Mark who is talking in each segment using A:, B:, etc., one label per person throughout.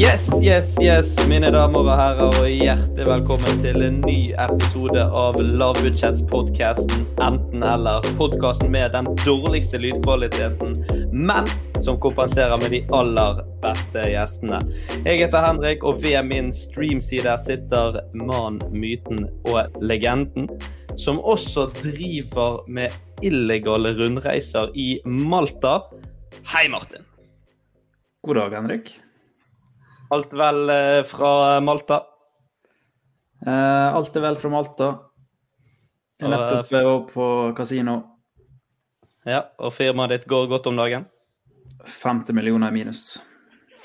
A: Yes, yes, yes, mine damer og herrer, og hjertelig velkommen til en ny episode av Lavbudsjettspodkasten Enten-eller. Podkasten med den dårligste lydkvaliteten, men som kompenserer med de aller beste gjestene. Jeg heter Henrik, og ved min streamside sitter mannen, myten og legenden, som også driver med illegale rundreiser i Malta. Hei, Martin.
B: God dag, Henrik.
A: Alt vel eh, fra Malta?
B: Eh, alt er vel fra Malta. Jeg er
A: Og,
B: nettopp eh, opp på kasino.
A: Ja, og firmaet ditt går godt om dagen?
B: 50 millioner i minus.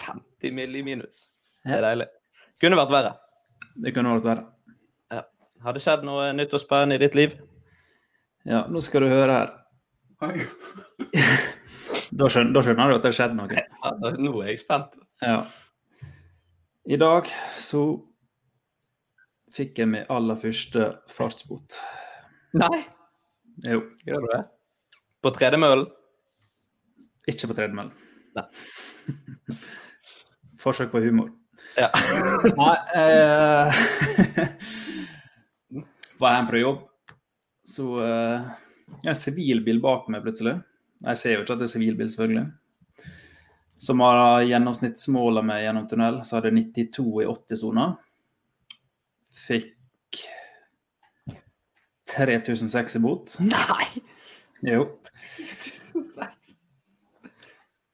A: 50 mill. i minus. Det
B: Ja.
A: er deilig. Kunne vært verre.
B: Det kunne vært verre.
A: Ja. Har det skjedd noe nytt og spennende i ditt liv?
B: Ja, nå skal du høre her. da, skjønner, da skjønner du at det har skjedd noe.
A: Ja, nå er jeg spent.
B: Ja. I dag så fikk jeg min aller første fartsbot.
A: Nei,
B: Jo,
A: gjør du det? På tredemøllen?
B: ikke på tredemøll.
A: Nei.
B: Forsøk på humor.
A: Ja.
B: Nei eh, Var hjemme fra jobb, så eh, det er en sivilbil bak meg plutselig. Jeg ser jo ikke at det er sivilbil, selvfølgelig. Som har gjennomsnittsmåla meg gjennom tunnel, så hadde 92 i 80-sona. Fikk 3006 i bot.
A: Nei!
B: Jo.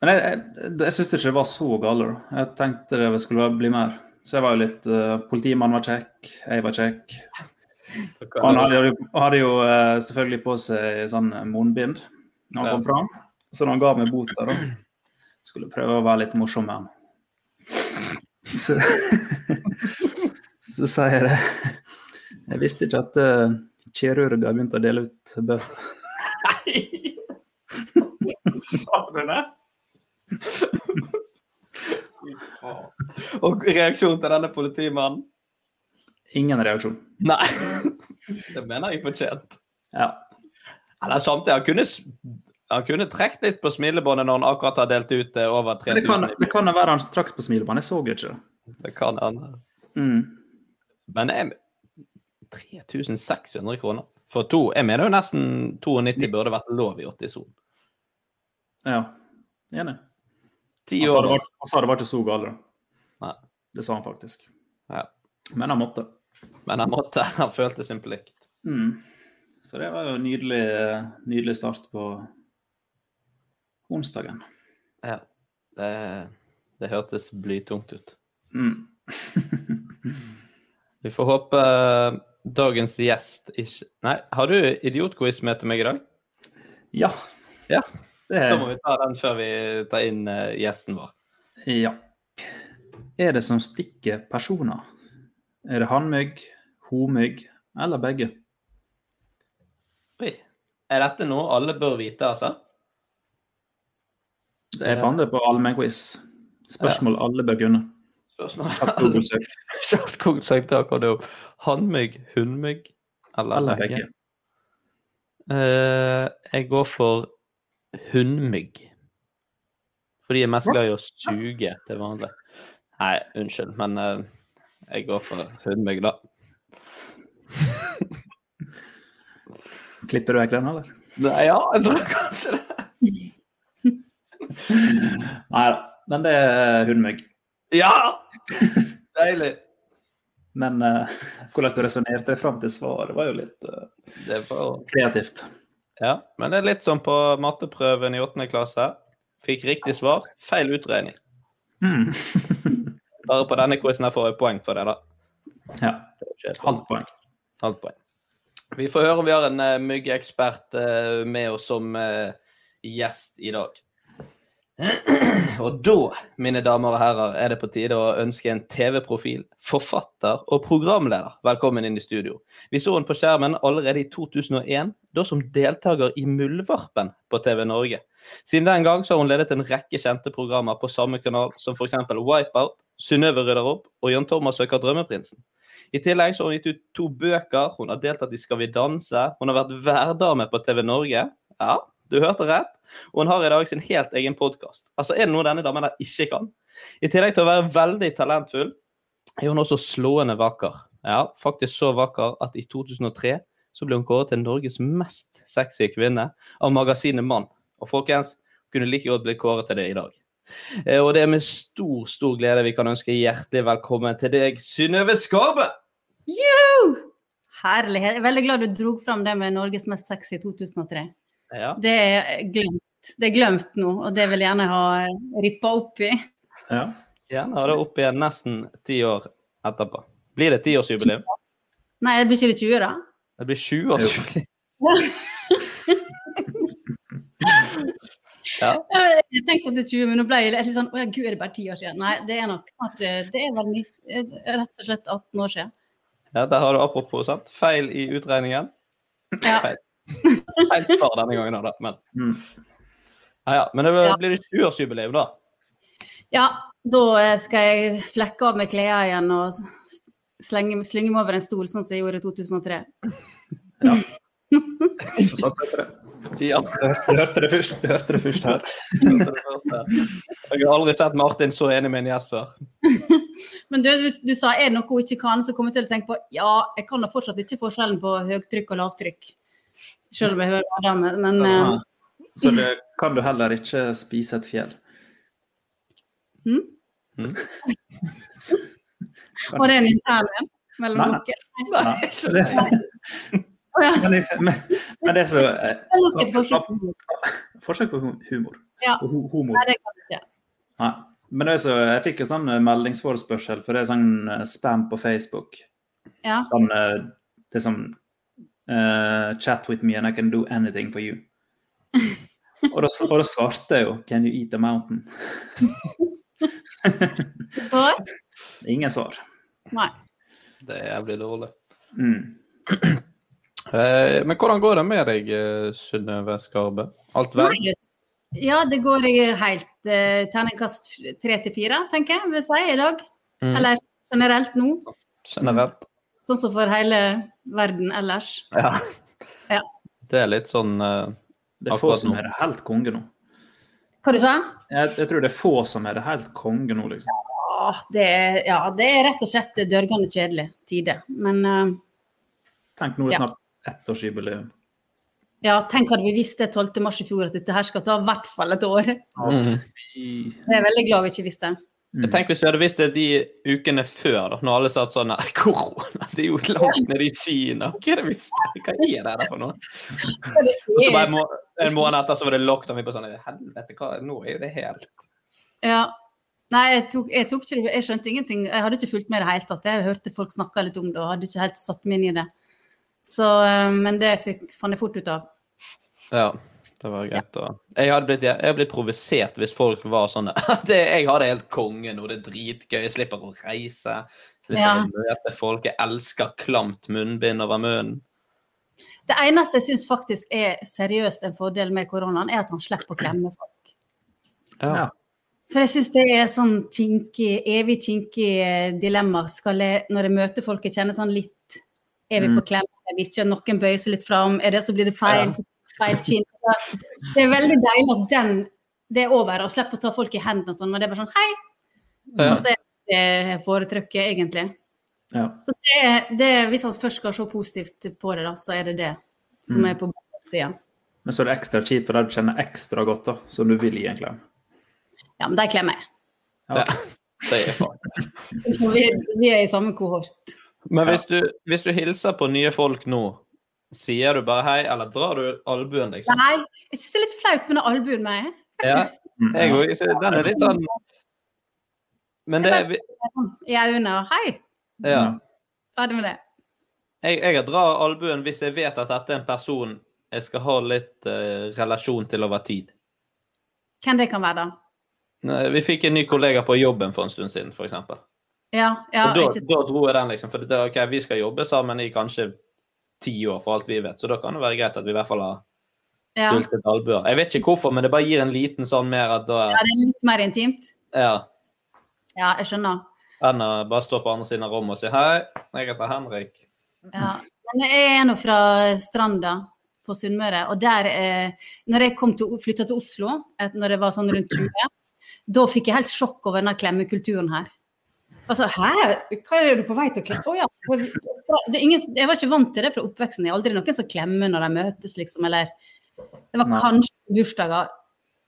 B: Men jeg, jeg, jeg syns ikke det var så gale. da. Jeg tenkte det skulle bli mer. Så jeg var jo litt eh, Politimannen var kjekk, jeg var kjekk. Og Han hadde jo, hadde jo eh, selvfølgelig på seg sånn munnbind når han kom fram. Så når han ga meg bota, da skulle jeg prøve å være litt morsom med ham. Så, så sier jeg det. Jeg visste ikke at eh, kirurger har begynt å dele ut bøter.
A: Sa du det? Og reaksjonen til denne politimannen?
B: Ingen reaksjon.
A: Nei. Det mener jeg fortjent.
B: Ja.
A: Eller samtidig, han kunne, s- han kunne trekt litt på smilebåndet når han akkurat har delt ut eh, over
B: Men Det kan,
A: 3000.
B: det kan jo være han trakk på smilebåndet. Jeg så jo ikke det.
A: Det kan han.
B: Mm.
A: Men jeg, 3600 kroner for to. Jeg mener jo nesten 92 burde vært lov i 80-sonen.
B: Ja. Enig.
A: Ti
B: Han sa,
A: år.
B: det var, han sa det var ikke så galt, da.
A: Nei.
B: Det sa han faktisk.
A: Ja.
B: Men han måtte.
A: Men han måtte. Han følte sin plikt.
B: Mm. Så det var jo en nydelig, nydelig start på onsdagen.
A: Ja. Det, det hørtes blytungt ut.
B: Mm.
A: Vi får håpe eh, dagens gjest ikke Nei, har du idiotquiz-møte med i dag?
B: ja.
A: Ja.
B: Det
A: Da
B: er,
A: må vi ta den før vi tar inn eh, gjesten vår.
B: ja. Er det som stikker personer? Er det hannmygg, homygg eller begge?
A: Oi. Er dette noe alle bør vite, altså?
B: Jeg fant det på allmennquiz. Spørsmål alle bør kunne. Tatt
A: Spørsmål.
B: Google-søk.
A: Kjært kokt sagt, da kan det jo Hannmygg, hunnmygg eller,
B: Eller begge.
A: Eh, jeg går for hunnmygg. For de er mest glad i å suge til vanlig. Nei, unnskyld, men eh, jeg går for hunnmygg, da.
B: Klipper du vekk den, eller?
A: Nei, ja, jeg tror kanskje det.
B: Nei da. Men det er hundmygg.
A: Ja! Deilig.
B: Men eh, hvordan du resonnerte fram til svaret, var jo litt eh,
A: Det var,
B: kreativt.
A: ja, men det er litt som på matteprøven i åttende klasse. Fikk riktig svar, feil utregning.
B: Mm.
A: Bare på denne quizen her får jeg poeng for det, da.
B: ja.
A: Det er ikke et
B: Halvt poeng.
A: Halvt poeng. Vi får høre om vi har en eh, myggekspert eh, med oss som eh, gjest i dag. Og da, mine damer og herrer, er det på tide å ønske en TV-profil, forfatter og programleder velkommen inn i studio. Vi så henne på skjermen allerede i 2001, da som deltaker i Muldvarpen på TV Norge. Siden den gang så har hun ledet en rekke kjente programmer på samme kanal, som f.eks. Wipeout, Synnøve rydder opp og Jan Thomas søker drømmeprinsen. I tillegg så har hun gitt ut to bøker, hun har deltatt i Skal vi danse, hun har vært værdame på TV Norge. Ja, du hørte rett. Og hun har i dag sin helt egen podkast. Altså, er det noe denne damen der ikke kan? I tillegg til å være veldig talentfull, er hun også slående vakker. Ja, faktisk så vakker at i 2003 så ble hun kåret til Norges mest sexy kvinne av magasinet Mann. Og folkens, hun kunne like godt blitt kåret til det i dag. Eh, Og det er med stor, stor glede vi kan ønske hjertelig velkommen til deg, Synnøve Skarbe!
C: Juhu! Herlighet. Jeg er veldig glad du dro fram det med Norges mest sexy 2003.
A: Ja.
C: Det er glemt, det er glemt nå, og det vil jeg gjerne ha rippa opp i.
B: Ja.
A: Gjerne ha det opp igjen nesten ti år etterpå. Blir det tiårsjubileum?
C: Nei, det blir ikke det 20, da?
A: Det blir 20-årsjubileum. Ja.
C: Jeg tenkte at det er 20, men nå ble jeg litt sånn Å ja, gud, er det bare 10 år siden? Nei, det er nok snart eh, Det er vel ni- eh, rett og slett 18 år siden.
A: ja, der har du apropos, sant? Feil i utregningen.
C: Ja.
A: Feil. Feil svar denne gangen, da. Men,
B: Mm.
A: ja, ja. men det blir-
C: Ja.
A: blir det 20-årsjubileum, da.
C: Ja, da eh, skal jeg flekke av meg klærne igjen og s- slenge, slynge meg over en stol, sånn som jeg gjorde i 2003.
B: Så satt jeg på det.
A: Ja.
B: Du hørte- du hørte det først, du hørte det først her.
A: Jeg har aldri sett Martin så enig med en gjest før.
C: Men du, du, du sa er det noe hun ikke kan, så kom jeg til å tenke på ja, jeg kan da fortsatt ikke forskjellen på høytrykk og lavtrykk. Selv om jeg hører hva det er, men eh,
B: Så det kan du heller ikke spise et fjell.
C: hm?
A: Mm.
C: Og det er en intern en mellom
B: Nei, nei.
C: dere.
B: Nei, det,
C: Å ja,
B: men, liksom- men, men det er så eh,
C: det er nok et forsøk.
B: Forsøk på hu- humor.
C: Ja.
B: På hu- humor.
C: Nei, det kan jeg ikke.
B: Nei. Men det er så, jeg fikk en sånn eh, meldingsforespørsel, for det er sånn eh, spam på Facebook.
C: Ja.
B: Sånn, eh, det er sånn eh, Chat with me and I can do anything for you. Og da, og da svarte jeg jo Can you eat a mountain?
C: Så,
B: Ingen svar.
C: nei.
A: Det er jævlig dårlig.
B: Mm.
A: Eh, Men hvordan går det med deg, eh, Synnøve Skarbe? Alt vel?
C: Nei. Ja, det går i helt eh, terningkast tre til fire, tenker jeg, vil si, i dag.
A: Mm.
C: Eller generelt nå,
A: Generelt?
C: sånn som for hele verden ellers.
A: Ja.
C: Ja.
A: Det er litt sånn eh,
B: Det er få
A: Akkurat
B: som
A: nå.
B: er det helt konge nå.
C: Hva du sa du?
B: Jeg, jeg tror det er få som er det helt konge nå, liksom.
C: Åh, det, er- ja, det er rett og slett dørgende kjedelig tider. Men eh,
B: Tenk nå er det
C: Ja.
B: snart ettårsjubileum.
C: ja, tenk hadde vi visst det 12. mars i fjor at dette her skal ta i hvert fall et år.
A: mm.
B: I-
C: Det er jeg veldig glad vi ikke visste.
B: Mm.
A: Tenk hvis vi hadde visst det de ukene før, da, når alle satt sånn "Nei, Korona, det er jo langt nede i Kina. Hva er det vi snakker- Hva er det der for noe? Og så bare en, må en måned etter så var det lockdown. Vi bare sånn Helvete, hva? nå er jo det helt
C: Ja, Nei, jeg, tok, jeg, tok ikke, det- jeg skjønte ingenting. Jeg hadde ikke fulgt med i det hele tatt. Jeg hørte folk snakke litt om det og hadde ikke helt satt meg inn i det. Så, eh, men det fikk, fant jeg fort ut av.
A: Ja, det var greit. å- Jeg hadde blitt, jeg hadde blitt provosert hvis folk var sånn det, Jeg har det helt konge nå, det er dritgøy, jeg slipper å reise. Slipper
C: Ja.
A: å møte folk. Jeg elsker klamt munnbind over munnen.
C: Det eneste jeg syns faktisk er seriøst en fordel med koronaen, er at han slipper å klemme folk.
B: Ja.
C: For jeg syns det er sånn kinkig, evig kinkig eh, dilemma. Skal jeg, når jeg møter folk jeg kjenner sånn litt Er vi på klem? Er vi ikke? Noen bøyer seg litt fram. Er det så blir det feil?
B: Mm. Ja.
C: så feil kinn. Så Det er veldig deilig at den, det er over, og slipper å ta folk i hendene og sånn. Men det er bare sånn Hei!
A: Ja.
C: Så er det jeg foretrekker, egentlig.
B: Ja.
C: Så det, er- det, er- hvis han først skal se positivt på det, da, så er det det som
B: Mm.
C: er på sida.
B: Men så er det ekstra kjipt for deg du kjenner ekstra godt, da, som du vil gi en klem.
C: Ja, men de klemmer jeg.
B: Ja.
A: Det er faen.
C: Vi, vi er i samme kohort.
A: Men hvis du, hvis du hilser på nye folk nå, sier du bare hei, eller drar du albuen, liksom?
C: Nei, jeg syns det er litt flaut med den albuen med.
A: Ja,
B: Mm.
A: jeg òg. Den er litt sånn Men det er
C: I øynene og hei.
A: Ja.
B: Mm.
C: Ferdig med det.
A: Jeg, jeg drar albuen hvis jeg vet at dette er en person jeg skal ha litt eh, relasjon til over tid.
C: Hvem det kan være, da?
A: Nei, Vi fikk en ny kollega på jobben for en stund siden, f.eks.
C: Ja, ja,
A: og da,
C: ikke-
A: da dro jeg den, liksom. For det, ok, vi skal jobbe sammen i kanskje ti år, for alt vi vet. Så da kan det være greit at vi i hvert fall har
C: ja.
A: dultet albuer. Jeg vet ikke hvorfor, men det bare gir en liten sånn mer at da
C: ja, det er litt mer intimt.
A: ja,
C: Ja, jeg skjønner.
A: Enn å bare stå på andre siden av rommet og si hei, jeg heter Henrik.
C: Ja. Men jeg er nå fra Stranda på Sunnmøre, og der eh, Når jeg kom til, flytta til Oslo, et, når jeg var sånn rundt 20, da fikk jeg helt sjokk over denne klemmekulturen her. Altså, hæ? Hva er du på vei til å klemme? Å ja. Det er ingen, jeg var ikke vant til det fra oppveksten. Det er aldri noen som klemmer når de møtes, liksom, eller Det var
B: Nei.
C: kanskje bursdager.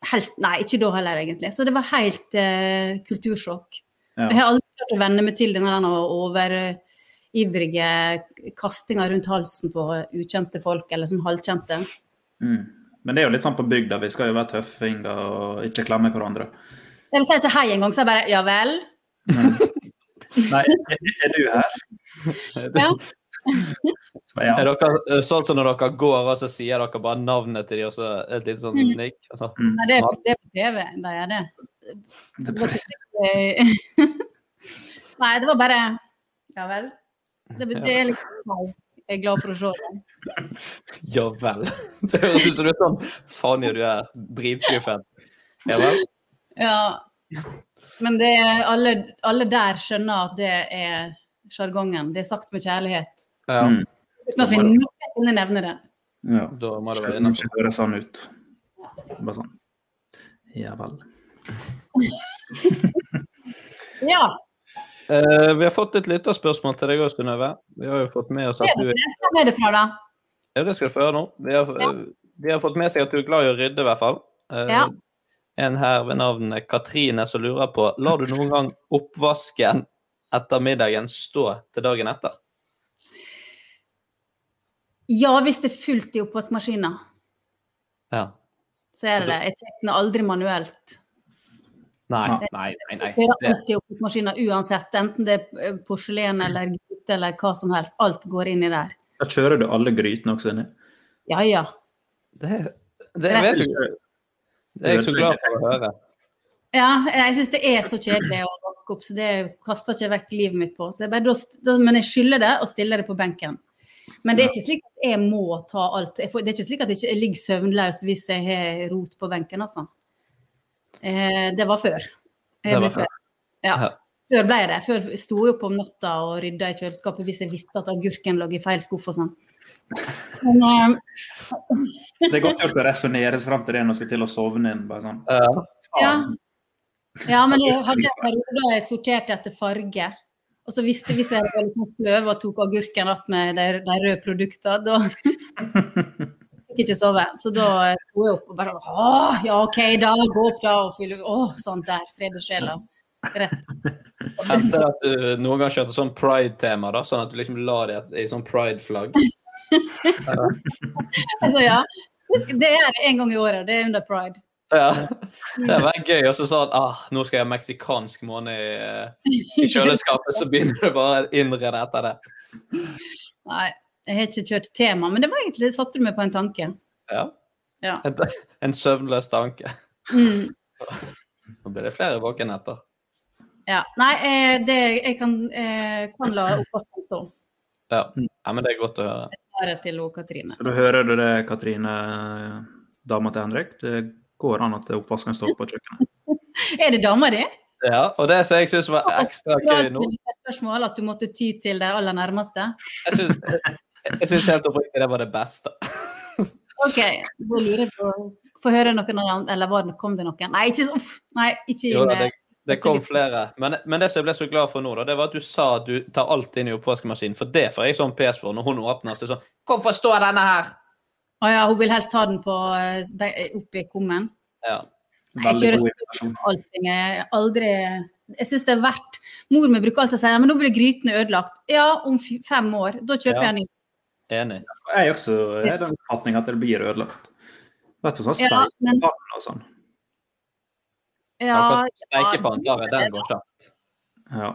C: Helst, nei, ikke da heller, egentlig. Så det var helt eh, kultursjokk.
B: Ja.
C: Jeg har aldri klart å venne meg til denne den overivrige kastinga rundt halsen på ukjente folk, eller sånn halvkjente.
B: Mm. Men det er jo litt sånn på bygda, vi skal jo være tøffinger og ikke klemme hverandre.
C: Jeg vil si ikke hei engang, så jeg bare ja vel.
B: Men, nei, er, er du her?
C: Ja.
B: Så, ja.
A: Er dere, sånn som når dere går, og så sier dere bare navnet til dem, og så et litt sånn
C: Mm.
A: nikk? Altså.
B: Mm.
C: Nei, det er, det er på TV, de gjør det.
B: Det-
C: Det var ikke- Nei, det var bare ja vel. Det, bet- det er liksom Jeg er glad for å se deg.
A: Ja vel. Det høres ut som du er sånn Faen, ja, du er dritskuffet. Ja vel?
C: Ja. Men det er, alle, alle der skjønner at det er sjargongen. Det er sagt med kjærlighet.
A: Ja,
B: Mm.
C: Uten at vi noensinne nevner det.
B: Ja.
A: da må det
B: Selv
A: være
B: om det
A: innenfor.
B: ikke høres sånn ut. Det er Bare sånn. Ja vel.
C: Ja.
A: Eh, vi har fått et lytterspørsmål til deg òg, Synnøve. Vi har jo fått med oss at du
C: Hvem er det fra, da?
A: Ja, det skal du få høre nå. Vi har, vi har fått med seg at du er glad i å rydde, i hvert fall. Eh,
C: Ja.
A: En her ved navn Katrine som lurer på Lar du noen gang oppvasken etter middagen stå til dagen etter?
C: Ja, hvis det er fullt i oppvaskmaskinen,
A: Ja.
C: så er det det. Jeg tar den aldri manuelt.
A: Nei, nei, nei. nei.
C: Jeg Hører
A: Det,
C: alltid i oppvaskmaskinen uansett, enten det er eh, porselen eller gryte eller hva som helst. Alt går inni der.
B: Da kjører du alle grytene også inni.
C: Ja, ja.
A: det, det vet du ikke. Det er jeg så glad for å høre.
C: Ja, jeg syns det er så kjedelig å vaske opp, så det kaster ikke jeg vekk livet mitt på. Så jeg bare, da, da, men jeg skylder det og stiller det på benken. Men det er ikke slik at jeg må ta alt. Jeg får, det er ikke slik at jeg ikke ligger søvnløs hvis jeg har rot på benken, altså. Eh, det var før.
A: Det
C: Jeg
A: var
C: ble
A: før.
C: Ja.
A: Ja.
C: Før ble jeg det. Før sto jeg opp om natta og rydda i kjøleskapet hvis jeg visste at agurken lå i feil skuff og sånn. Men, eh,
B: Det er godt gjort å resonnere seg fram til det når du skal til å sovne inn. Bare sånn.
A: Ja.
C: ja.
B: faen.
C: Ja, men jeg hadde en periode da jeg sorterte etter farge. Og så visste hvis jeg var litt sløv og tok agurken att med de, de røde produktene, da fikk jeg ikke sove. Så da sto jeg opp og bare Å, ja, OK, da. Gå opp da og fylle Å, sånn der. Fred og sjela. Rett.
A: Hendte det at du noen gang kjørte sånn pride-tema, da? Sånn at du liksom la det i sånn pride-flagg?
C: Altså, ja. Husk, Det er en gang i året. Det er under pride.
A: Ja. Det hadde vært gøy. Og så sa han ah, nå skal jeg ha meksikansk måned i, eh, i kjøleskapet, så begynner du bare å innrede etter det.
C: Nei, jeg har ikke kjørt tema, men det var egentlig satte du meg på en tanke.
A: Ja.
C: Ja.
A: En, en søvnløs tanke.
C: Mm.
A: Nå blir det flere våkenetter.
C: ja. Nei, eh, det, jeg kan, eh, kan la oppvaskeren stå.
A: Ja. ja, men det er godt å høre.
C: Svaret til hun Katrine.
B: Så da hører du det, Katrine, dama til Henrik. Det går an at oppvasken står på kjøkkenet.
C: Er det dama di?
A: Ja, Og det som jeg syns var ekstra
C: Det var
A: gøy
C: et
A: nå
C: spørsmål at du måtte ty til de aller nærmeste.
A: Jeg syns- Jeg syns helt oppriktig det var det beste.
C: OK, da lurer jeg på Få høre noen av dem, eller var det, kom det noen? Nei, ikke uff, nei, ikke eh. gi
A: Jo, da,
C: meg
A: det, det kom flere. Men, men det som jeg ble så glad for nå, da, det var at du sa at du tar alt inn i oppvaskmaskinen. For det får jeg sånn pes for når hun åpner så er det sånn Kom, få stå denne her!
C: Å ja, hun vil helst ta den på, eh, be- opp i kummen.
A: Ja.
C: Jeg
B: Veldig
C: kjører
B: god informasjon.
C: allting. Jeg aldri Jeg syns det er verdt Mor mi bruker alltid å si ja, men nå blir grytene ødelagt. Ja, om fi- fem år. Da kjøper
A: Ja.
C: jeg en ny.
A: Enig.
B: Jeg er også i den oppfatning at det blir ødelagt. Vet du, sånn
C: Ja,
B: stein
C: men-
B: og sånn.
C: Ja,
A: Akkurat Steikepann tar jeg. Den går kjapt.
B: Ja.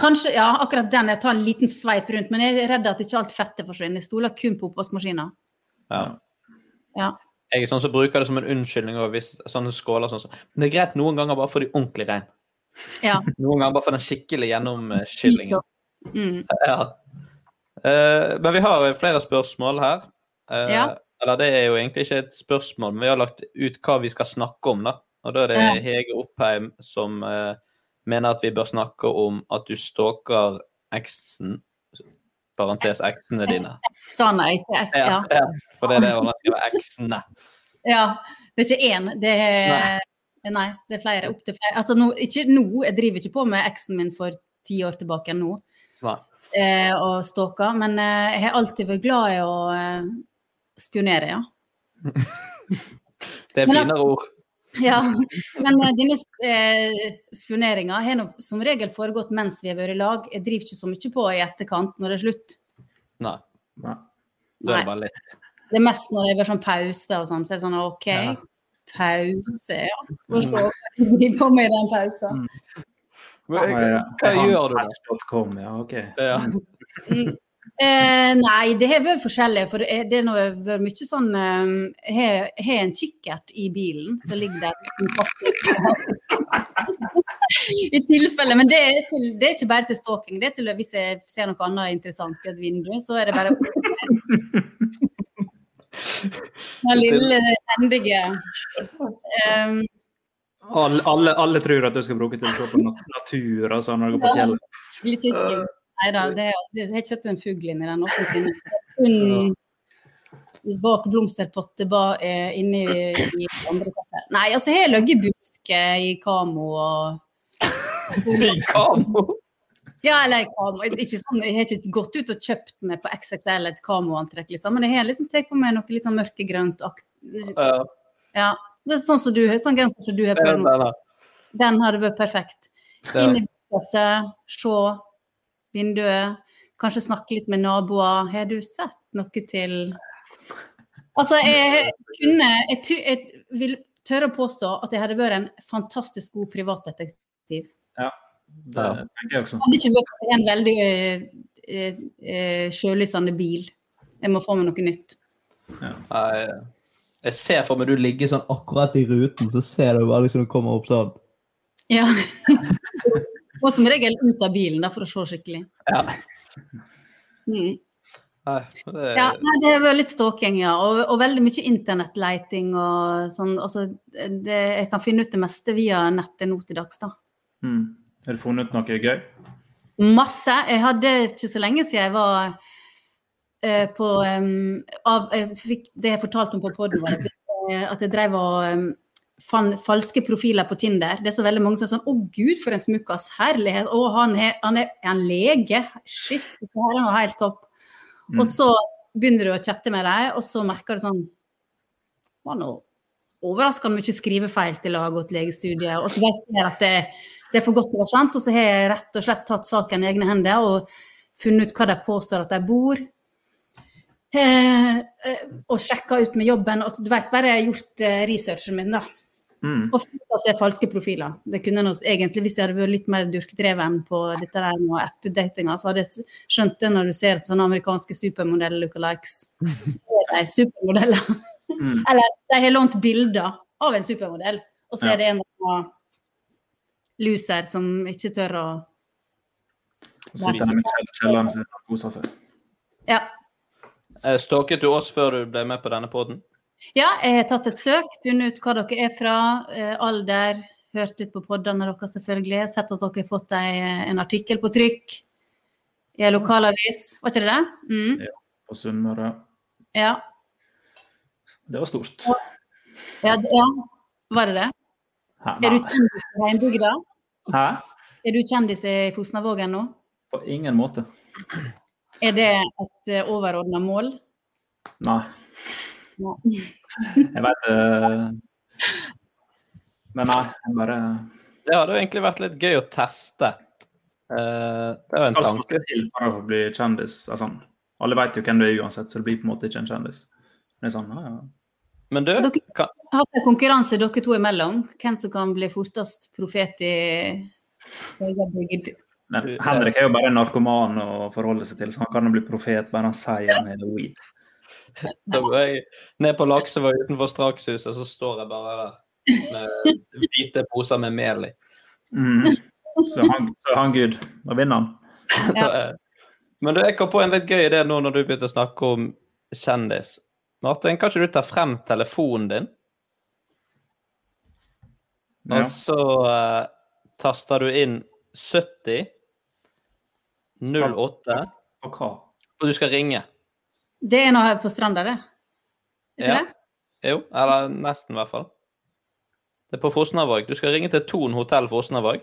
C: kanskje Ja, akkurat den. Jeg tar en liten sveip rundt, men jeg er redd at ikke alt fettet forsvinner. Jeg stoler kun på oppvaskmaskinen.
A: Ja.
C: Ja.
A: Jeg er sånn som bruker det som en unnskyldning og hvis sånne skåler sånn. som- Men det er greit noen ganger bare for de ordentlig rein.
C: Ja.
A: Noen ganger bare for den skikkelig gjennomskyllingen.
C: Mm.
A: Ja. Eh, men vi har flere spørsmål her. Eh,
C: Ja.
A: Eller det er jo egentlig ikke et spørsmål, men vi har lagt ut hva vi skal snakke om, da. Og da er det
C: Ja.
A: Hege Oppheim som eh, mener at vi bør snakke om at du stalker eksen Parentes eksene dine.
C: Sanna, ikke ek- ja.
A: Ja, ja. For det er det hun har skrevet. Eksene.
C: ja. Det er ikke én. Det er Nei, det er flere. Opp til flere. Altså, nå, ikke nå. Jeg driver ikke på med eksen min for ti år tilbake nå.
A: Nei.
C: eh, og stalka, men eh, jeg har alltid vært glad i å eh, spionere, ja.
A: Det er
C: Men altså-
A: finere ord.
C: ja. Men eh, denne eh, spioneringa har nå som regel foregått mens vi har vært i lag. Jeg driver ikke så mye på i etterkant når det er slutt.
A: Nei.
B: Nei.
A: Da er
C: Nei.
A: det bare litt.
C: Det er mest når det er sånn pause og sånn, så er det sånn OK,
A: Ja. Mm.
C: pause, ja. Får se hva jeg driver på med i den pausen.
B: Jeg- jeg-
A: Hva
B: jeg har
A: gjør du da?
B: Match.com, ja, Mm. ok.
A: Ja.
C: Eh, nei, det har vært forskjellig. For det er- det har nå vært mye sånn eh, Har har en kikkert i bilen som ligger der. uten pass. I tilfelle. Men det er, til, det er ikke bare til stalking. Det er til hvis jeg ser noe annet interessant i et vindu, så er det bare Den lille hendige um,
B: Alle, alle, alle tror at du skal bruke til å se på nat- natur og sånn når du går på fjellet.
C: Litt kikking. Nei da, det er, jeg har ikke sett en fugl inni den åpne siden. Hun bak blomsterpotte ba, eh, inni i andre kaffe. Nei, altså jeg har ligget i busk eh, i kamo og
A: I kamo.
C: Ja, eller i kamo. Ikke sånn, jeg har ikke gått ut og kjøpt meg på XXL et kamoantrekk, liksom. Men jeg har liksom tatt på meg noe litt sånn mørkegrønt-aktig.
A: Ja,
C: Ja. Det er sånn som du har, sånn genser som du har
A: det
C: på
A: er
C: nå.
A: den der.
C: Den hadde vært perfekt.
A: Ja.
C: Inn i huset, se vinduet, kanskje snakke litt med naboer. Har du sett noe til Altså, jeg kunne Jeg, ty- jeg vil tørre å påstå at jeg hadde vært en fantastisk god privatdetektiv.
B: Det tenker jeg også.
C: Jeg hadde ikke vært en veldig eh, eh, eh, sjølysende bil. Jeg må få meg noe nytt.
A: Nei, Jeg ser for meg du ligger sånn akkurat i ruten, så ser du bare liksom du kommer opp sånn.
C: Ja. Og som regel ut av bilen, da, for å se skikkelig.
A: Ja.
C: Mm.
A: Nei, det,
C: Ja, nei, det var litt stalking, ja. Og, og veldig mye internettleiting og sånn. Altså, det, jeg kan finne ut det meste via nettet nå til dags, da.
B: Mm. Har du funnet ut noe gøy?
C: Masse. Jeg hadde ikke så lenge siden jeg var eh, på em, av, jeg fikk, Det jeg fortalte om på poden, var at jeg- at jeg drev og em, fant falske profiler på Tinder. Det er så veldig mange som er sånn Å, gud, for en smukkas. Herlighet. Å, han, er- han er er han lege. Shit, det her er noe helt topp.
B: Mm.
C: Og så begynner du å chatte med dem, og så merker du sånn Det var nå overraskende mye skrivefeil til å ha gått legestudiet. Og så bare ser at det det er for godt til å være sant. Og så har jeg rett og slett tatt saken i egne hender og funnet ut hva de påstår at de bor. Altså, Eh, eh, og sjekka ut med jobben. Og du vet, bare gjort eh, researchen min, da.
B: Mm.
C: Og fint at det er falske profiler. Det kunne nå s- egentlig, Hvis jeg hadde vært litt mer durkdreven på dette der med app-datinga, så hadde jeg s- skjønt det når du ser sånne amerikanske supermodeller lookalikes. Det er de supermodeller.
B: Mm.
C: Eller de har lånt bilder av en supermodell, og så
B: Ja.
C: er det en eller annen loser som ikke tør å
B: Og sitter han i kjell- kjelleren sin og koser seg.
C: Ja.
A: Eh, Stalket du oss før du ble med på denne poden?
C: Ja, jeg har tatt et søk, funnet ut hva dere er fra, eh, alder, hørt litt på poddene deres selvfølgelig, sett at dere har fått ei, eh, en artikkel på trykk i en lokalavis, var ikke det det? Mm.
B: På Sunnmøre.
C: Ja.
B: Det var stort.
C: Ja, d- ja, var det det?
B: Hæ?
C: Er du
B: Nei.
C: kjendis i heimbygda?
B: Hæ?
C: Er du kjendis i Fosnavågen nå?
B: På ingen måte.
C: Er det et eh, overordnet mål?
B: Nei.
C: Ja.
B: Jeg veit eh, Men nei, jeg bare
A: Det hadde jo egentlig vært litt gøy å teste. Eh, det er jo en
B: Skal så
A: tanke.
B: mye til for å bli kjendis. Altså, alle veit jo hvem du er uansett, så det blir på en måte ikke en kjendis. Men det er sånn, ja, ja.
A: Men du,
C: Dere
A: kan,
C: har dere konkurranse dere to imellom, hvem som kan bli fortest profet i egen bygd?
B: Men Henrik er jo bare en narkoman å forholde seg til, så han kan jo bli profet bare han sier han er weed.
A: Da går jeg ned på Laksevåg utenfor Strakshuset, så står jeg bare der med hvite poser med mel i.
B: Mm. Så er han, så er han gud. Da vinner han.
A: Da er- Men du, jeg kom på en litt gøy idé nå når du begynte å snakke om kjendis. Martin, kan ikke du ta frem telefonen din,
B: Ja.
A: og så eh, taster du inn 70 08,
B: Og hva?
A: og du skal ringe?
C: Det er noe her på stranda, det. Ikke
A: Ja.
C: det?
A: Jo, eller nesten i hvert fall. Det er på Fosnavåg. Du skal ringe til Thon hotell Fosnavåg.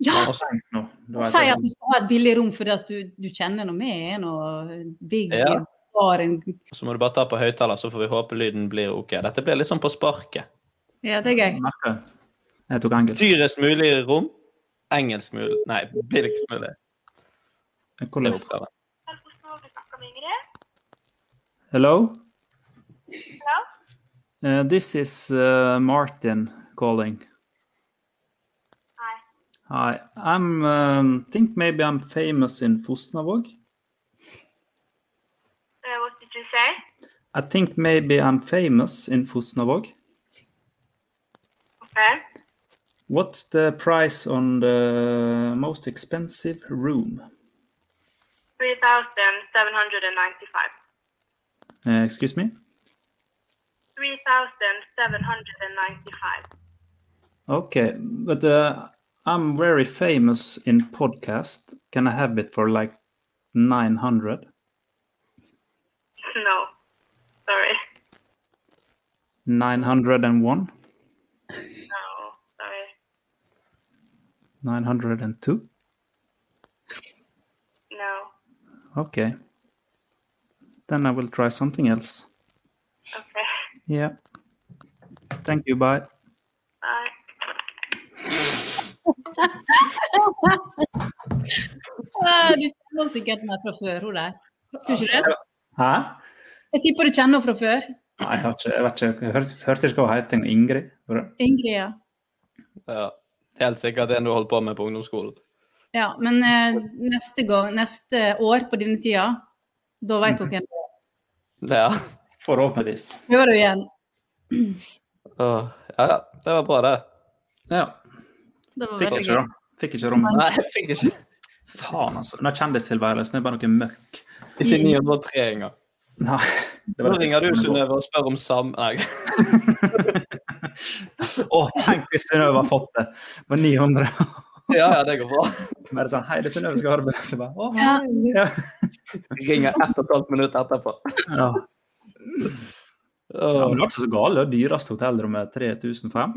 C: Ja!
B: Og stengt nå. Da vet
C: Si
B: jeg-
C: at du skal ha et billig rom fordi at du, du kjenner noe med en og big
A: Ja.
C: bar en,
A: Så må du bare ta på høyttaler, så får vi håpe lyden blir OK. Dette blir litt sånn på sparket.
C: Ja, det er gøy.
B: Merker jeg. Jeg tok engelsk.
A: Dyrest mulig rom. Engelsk mulig Nei, billigst mulig. Det er
B: Hvordan?
A: oppgaven.
B: Hello? Hello? this is uh, Martin calling. Hi. Hi. I'm um, think maybe I'm famous in Fosnavåg.
D: Uh, what did you say?
B: I think maybe I'm famous in Fosnavåg.
D: Okay.
B: What's the price on the most expensive room?
D: 3,795.
B: Uh, excuse me?
D: 3,795.
B: Okay, but uh, I'm very famous in podcast. Can I have it for like 900?
D: No. Sorry.
B: 901?
D: No. Sorry.
B: 902?
D: No.
B: Okay. Then I will try something else.
D: Okay.
B: Yeah. Thank you. Bye.
D: Bye.
C: Ah, Du kjenner henne sikkert meg fra før, hun der. Tror ikke det?
B: Hæ?
C: Jeg tipper du kjenner henne fra før.
B: Nei, jeg, har ikke, jeg vet ikke. Jeg hør, hørte ikke hva hun het. Ingrid? Var det?
C: Ingrid, ja.
A: Ja. Helt sikkert en du holdt på med på ungdomsskolen.
C: ja men eh, neste, gang, neste år på denne tida, da vet hun hvem det er.
A: Ja.
B: Forhåpentligvis.
C: Prøver du igjen.
A: Åh, ja, ja. Det var bra, det.
B: Ja.
C: Det var
B: Fikk
C: veldig
B: ikke,
C: gøy.
B: da. Fikk ikke rommet.
A: Nei, jeg fikk ikke
B: Faen, altså. Den der kjendistilværelsen er bare noe møkk.
A: Ikke 903 engang.
B: Nei. det
A: Nå
B: var-
A: ringer du Synnøve og spør om sam... Nei.
B: Å, tenk hvis Synnøve har fått det på 900.
A: Ja, ja, det går bra.
B: Bare sånn Hei, det er Synnøve Skarbe. Så bare Å,
C: Ja.
B: hei. Ja.
A: Ringer ett og et halvt minutt etterpå.
B: Ja.
A: Åh.
B: men det var ikke så galt. Det dyreste hotellrommet 3005.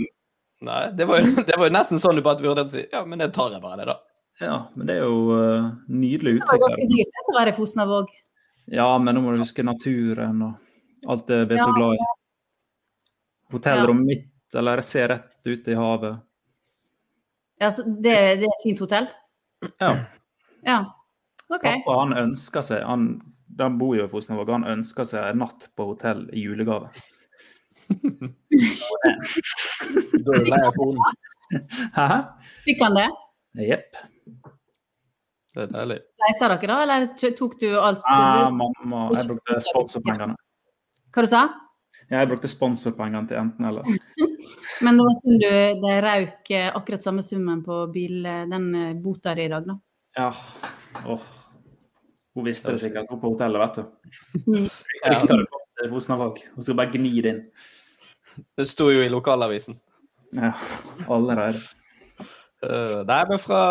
A: Nei, det var, jo, det var jo nesten sånn du bare burde si Ja, men det tar jeg bare, det, da.
B: Ja, men det er jo eh, nydelig
C: Det var
B: utsikt.
C: ganske
B: der.
C: dyrt å være i Fosnavåg.
B: Ja, men nå må du huske naturen og alt det vi er så
C: Ja.
B: glad i. Hotellrommet mitt, eller jeg ser rett ut i havet.
C: Ja, så det, det er et fint hotell?
B: Ja.
C: Ja. OK.
B: Pappa han ønsker seg han, han bor jo i Fosnavåg, han ønsker seg en natt på hotell i julegave.
A: Da er du lei av horn.
B: Hæ?
C: Fikk han det?
B: Jepp.
A: Det er deilig.
C: Leisa dere da, eller kjø- tok du alt?
B: Ah,
C: du-
B: mamma, jeg brukte sponsorpengene.
C: Hva du sa du?
B: Jeg brukte sponsorpengene til enten eller.
C: Men det var synd du det røk eh, akkurat samme summen på bil, eh, den eh, bota di i dag, da.
B: Ja. Åh. Hun visste det sikkert. Hun på hotellet, vet du.
C: Mm.
B: Rykter det kom til Fosnavåg. Hun skal bare gni det inn.
A: Det sto jo i lokalavisen.
B: Ja, allerede.
A: Eh, nei, men fra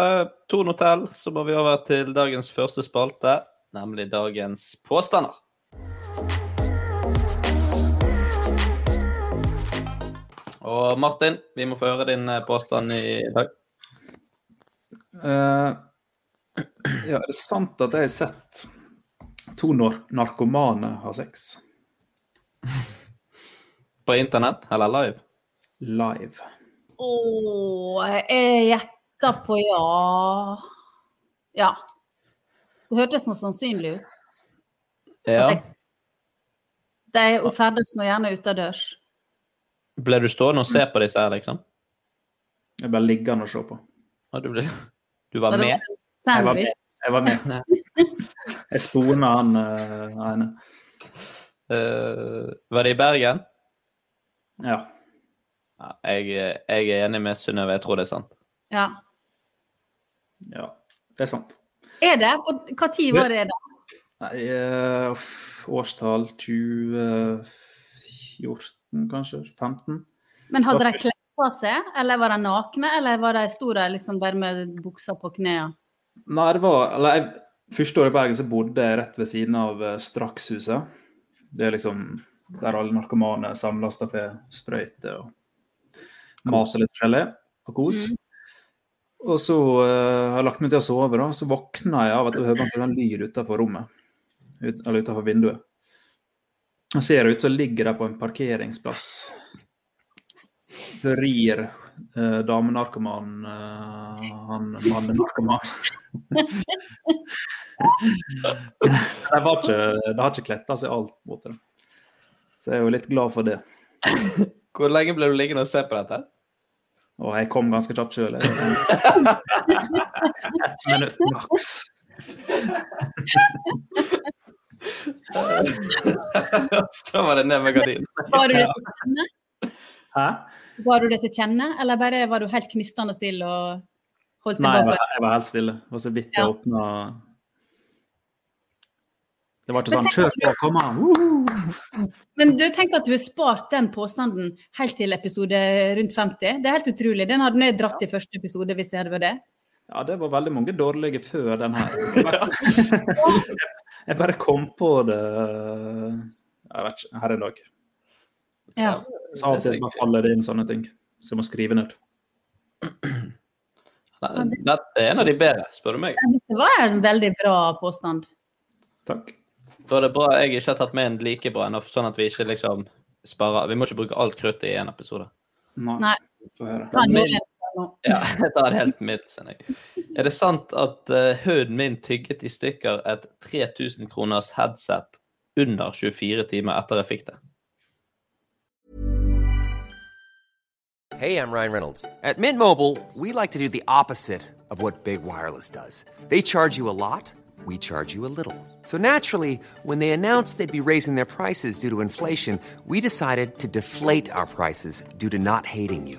A: Torn hotell så må vi over til dagens første spalte, nemlig dagens påstander. Og Martin, vi må få høre din eh, påstand i dag.
B: Eh, ja, er det sant at jeg har sett to nar narkomane ha sex
A: På internett eller live?
B: live?
C: Åh, jeg gjetter på ja. Ja. Det hørtes noe sannsynlig ut.
A: Ja.
C: De ferdes nå gjerne utendørs.
A: Ble du stående og se på disse her, liksom?
B: Jeg ble liggende og se på.
A: Ja, Du, ble... du var
C: Og det
A: med?
C: var en
B: Jeg var
C: Sandwich.
B: med. Jeg, var med. jeg spona han eh, ene.
A: Eh, var det i Bergen?
B: Ja.
A: Ja, jeg, eh, jeg er enig med Synnøve, jeg tror det er sant.
C: Ja.
B: ja. Det er sant.
C: Er det? For hva tid var det da?
B: Nei, eh, uff, årstall 2014, kanskje? 15?
C: Men hadde de kledd på seg, eller var de nakne, eller var de sto der liksom bare med buksa på knærne?
B: Nei, det var Eller jeg, første året i Bergen så bodde jeg rett ved siden av eh, Strakshuset. Det er liksom der alle narkomane samles der for sprøyter og mat og litt forskjellig. Og kos. Og så eh, har jeg lagt meg til å sove, da. Så våkna jeg av at jeg hørte en sånn lyd utenfor rommet. Ut, eller utenfor vinduet. Og ser ut, så ligger de på en parkeringsplass. Så rir eh, damenarkomanen eh, han mannenarkomanen. De har ikke, de har ikke kletta seg alt mot dem. Så jeg er jo litt glad for det.
A: Hvor lenge ble du liggende og se på dette?
B: Og jeg kom ganske kjapt sjøl. Ett minutt maks.
A: Så var det ned med gardinen.
C: Var du det til kjenne?
B: Hæ?
C: Var du det til kjenne, eller bare var du helt knistende stille og holdt
B: Nei, jeg
C: tilbake?
B: var, jeg var helt stille. Det var så vidt jeg
C: Ja.
B: åpna Det var ikke
C: Men
B: sånn Kjør
C: tenk-
B: på, kom an! Woohoo!»
C: Men du tenker at du har spart den påstanden helt til episode rundt 50? Det er helt utrolig. Den hadde jeg dratt i første episode hvis jeg hadde vært det.
B: Ja, det var veldig mange dårlige før den her. Jeg bare kom på det øh, Jeg vet ikke, her en dag.
C: Ja.
B: Så av og til så bare faller det inn sånne ting. Så jeg må skrive ned.
A: Nei, Dette er en av de bedre, spør du meg.
C: Det var en veldig bra påstand.
B: Takk.
A: Da er det bra jeg ikke har tatt med en like bra en, sånn at vi ikke liksom sparer Vi må ikke bruke alt kruttet i én episode.
C: Nei.
B: Få høre.
C: Ta en
A: Men-
C: juleepisode nå.
A: Ja, jeg tar det helt middels. enn jeg. Er det sant at eh, huden min tygget i stykker et 3000 kroners headset under 24 timer etter jeg fikk det?
E: Hey, I'm Ryan Reynolds. At Mint Mobile, we like to do the opposite of what Big Wireless does. They charge you a lot, we charge you a little. So naturally, when they announced they'd be raising their prices due to inflation, we decided to deflate our prices due to not hating you.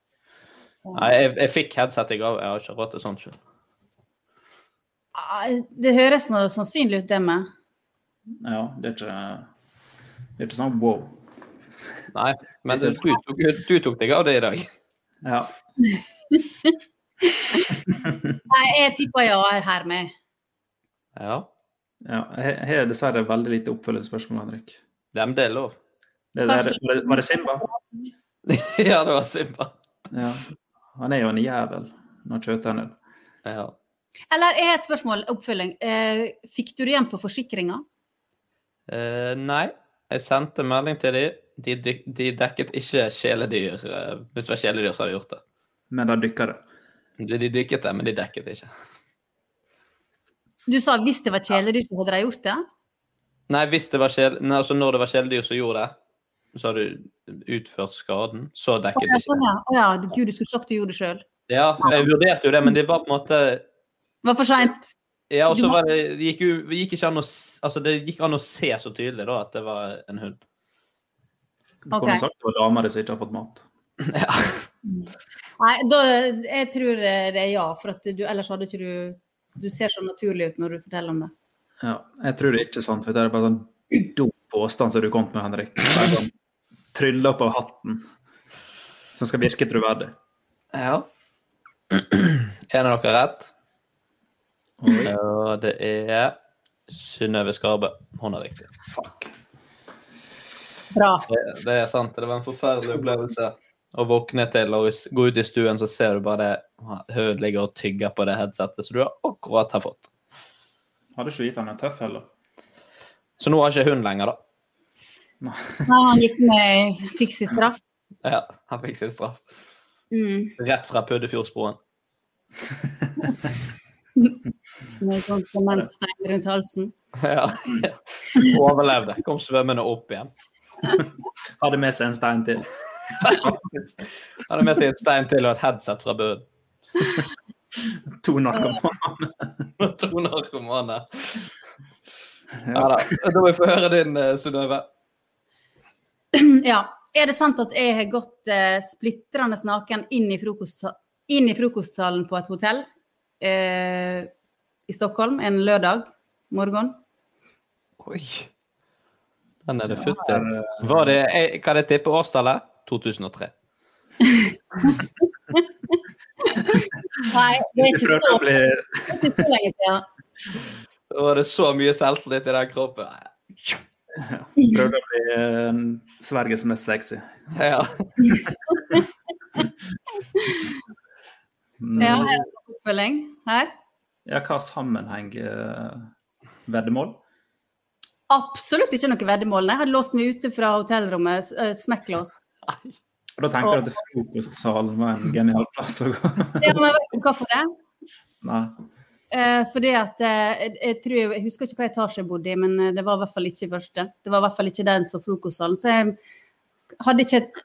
A: Nei, jeg, jeg fikk headset jeg av. Jeg har ikke råd til sånt. selv.
C: Ah, Det høres nå sannsynlig ut, det med.
B: Ja, det er ikke Det er ikke sånn wow.
A: Nei, men du tok, du tok deg av det i dag.
B: Ja.
C: Nei, jeg tipper ja hermed.
A: Ja.
B: jeg jeg har dessverre veldig lite oppfølgingsspørsmål, Henrik.
A: Det, men det er lov.
B: Det der, var det- var det Simba?
A: ja, det var Simba.
B: Ja. Han er jo en jævel når kjøttet er
A: Ja.
C: Eller jeg har et spørsmål, oppfølging. Eh, fikk du det igjen på forsikringa?
A: Eh, nei, jeg sendte melding til dem. De, dyk- de dekket ikke kjæledyr. eh, Hvis det var kjæledyr, så hadde de gjort det.
B: Men da dykker det.
A: De, de dykket det, men de dekket ikke.
C: Du sa hvis det var kjæledyr, så hadde de gjort det?
A: Nei, hvis det var kjæle, nei, altså når det var kjæledyr som gjorde det, så har du utført skaden, så
C: Å
A: dekket
C: ja,
A: det ikke.
C: sånn, ja. Å ja. Gud, du skulle sagt du gjorde det sjøl.
A: Ja, jeg vurderte jo det, men det var på en måte
C: Det var for seint.
A: Ja, og
C: Du
A: så
C: må-
A: var det, det gikk jo, det gikk ikke an å, s- altså det gikk an å se så tydelig da at det var en hund.
B: Du kunne sagt det var damer som ikke har fått mat.
C: Nei, da, jeg tror eh, det er ja, for at du, ellers hadde ikke du Du ser så naturlig ut når du forteller om det.
B: Ja, jeg tror det er ikke sant. for Det er bare sånn dum påstand som du kom med, Henrik. Bare sånn Trylle opp av hatten. Som skal virke troverdig.
A: Ja. En av dere rett. Og det er Synnøve Skarbe. Hun er riktig.
C: Bra.
A: Det, det er sant. Det var en forferdelig opplevelse å våkne til og s- gå ut i stuen, så ser du bare det hun ligger og tygger på det headsetet som du akkurat har fått.
B: Hadde ikke gitt han en tøff heller.
A: Så nå har ikke hun lenger, da.
C: Nei, han gikk med fiks i straff.
A: Ja, han fikk sin straff.
C: Mm.
A: Rett fra Puddefjordsbroen.
C: Med sånn sementstein rundt halsen.
A: Ja. Overlevde. Kom svømmende opp igjen.
B: Hadde med seg en stein til.
A: Hadde med seg et stein til og et headset fra bunnen.
B: To narkomane.
A: to narkomane. Ja da. Da må vi få høre din, eh, Synnøve.
C: ja. Er det sant at jeg har gått eh, splitrende naken inn i, frokost, inn i frokostsalen på et hotell eh, i Stockholm en lørdag morgen?
A: Oi. Den er det futt i. Var det, jeg, kan jeg tippe årstallet? 2003.
C: Nei, det er ikke så,
A: Bli,
C: det er ikke så lenge siden.
A: da var det så mye selvtillit i den kroppen.
B: Prøvde å bli eh, Sveriges mest sexy.
A: Ja.
B: Mm.
C: Ja, er det noen oppfølging her?
B: Ja, hva sammenheng eh, Veddemål?
C: Absolutt ikke noe veddemål. nei. Jeg hadde låst meg ute fra hotellrommet, s- eh, smekklåst.
B: Og Da tenker jeg at frokostsalen var en genial plass å gå.
C: Ja, men vet du hvorfor det?
B: Nei.
C: Eh, fordi at eh, jeg, jeg tror jeg, jeg husker ikke hva etasje jeg bodde i, men eh, det var i hvert fall ikke første. Det var i hvert fall ikke den som frokostsalen. Så jeg hadde ikke et-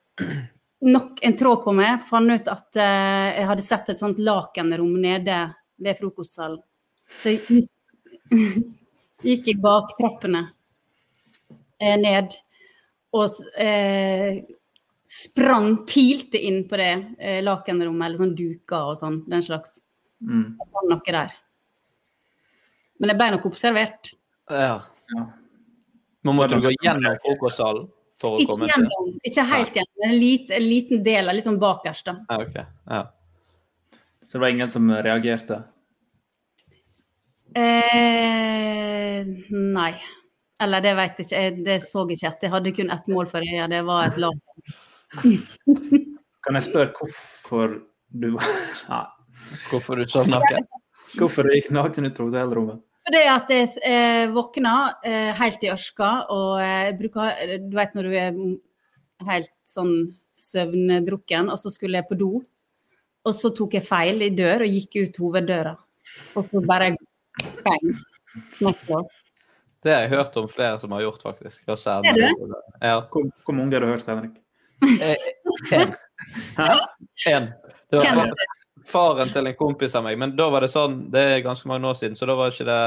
C: nok en tråd på meg. Fant ut at eh, jeg hadde sett et sånt lakenrom nede ved frokostsalen. Så jeg mis- Gikk i baktrappene eh, ned og s- eh, sprang, pilte inn på det eh, lakenrommet, eller sånn duker og sånn, den slags.
B: Mm.
C: Det var noe der. Men jeg ble nok observert.
A: Ja. Man måtte gå gjennom frokostsalen for å
C: Ikke,
A: komme
C: gjennom, ikke helt gjennom, men en liten, en liten del, litt sånn bakerst, da.
A: Ja, ok. Ja.
B: Så det var ingen som reagerte?
C: Eh, nei. Eller det vet jeg ikke. Jeg, det så jeg ikke at jeg hadde kun ett mål for øya, det var et lag.
B: Kan jeg spørre hvorfor du Nei.
A: Hvorfor du sov
C: naken?
B: Hvorfor du gikk naken ut på hotellrommet?
C: Fordi at jeg eh, våkna eh, helt i ørska, og eh, bruker Du vet når du er helt sånn søvndrukken, og så skulle jeg på do, og så tok jeg feil i dør og gikk ut hoveddøra. Og så bare bang. knekklås.
A: Det har jeg hørt om flere som har gjort, faktisk. Og så
C: Er det?
A: Ja.
B: Hvor, hvor mange har du hørt, Henrik?
A: En. Det var
C: Hvem er
A: faren, faren til en kompis av meg. Men da var det sånn, det er ganske mange år siden, så da var ikke det,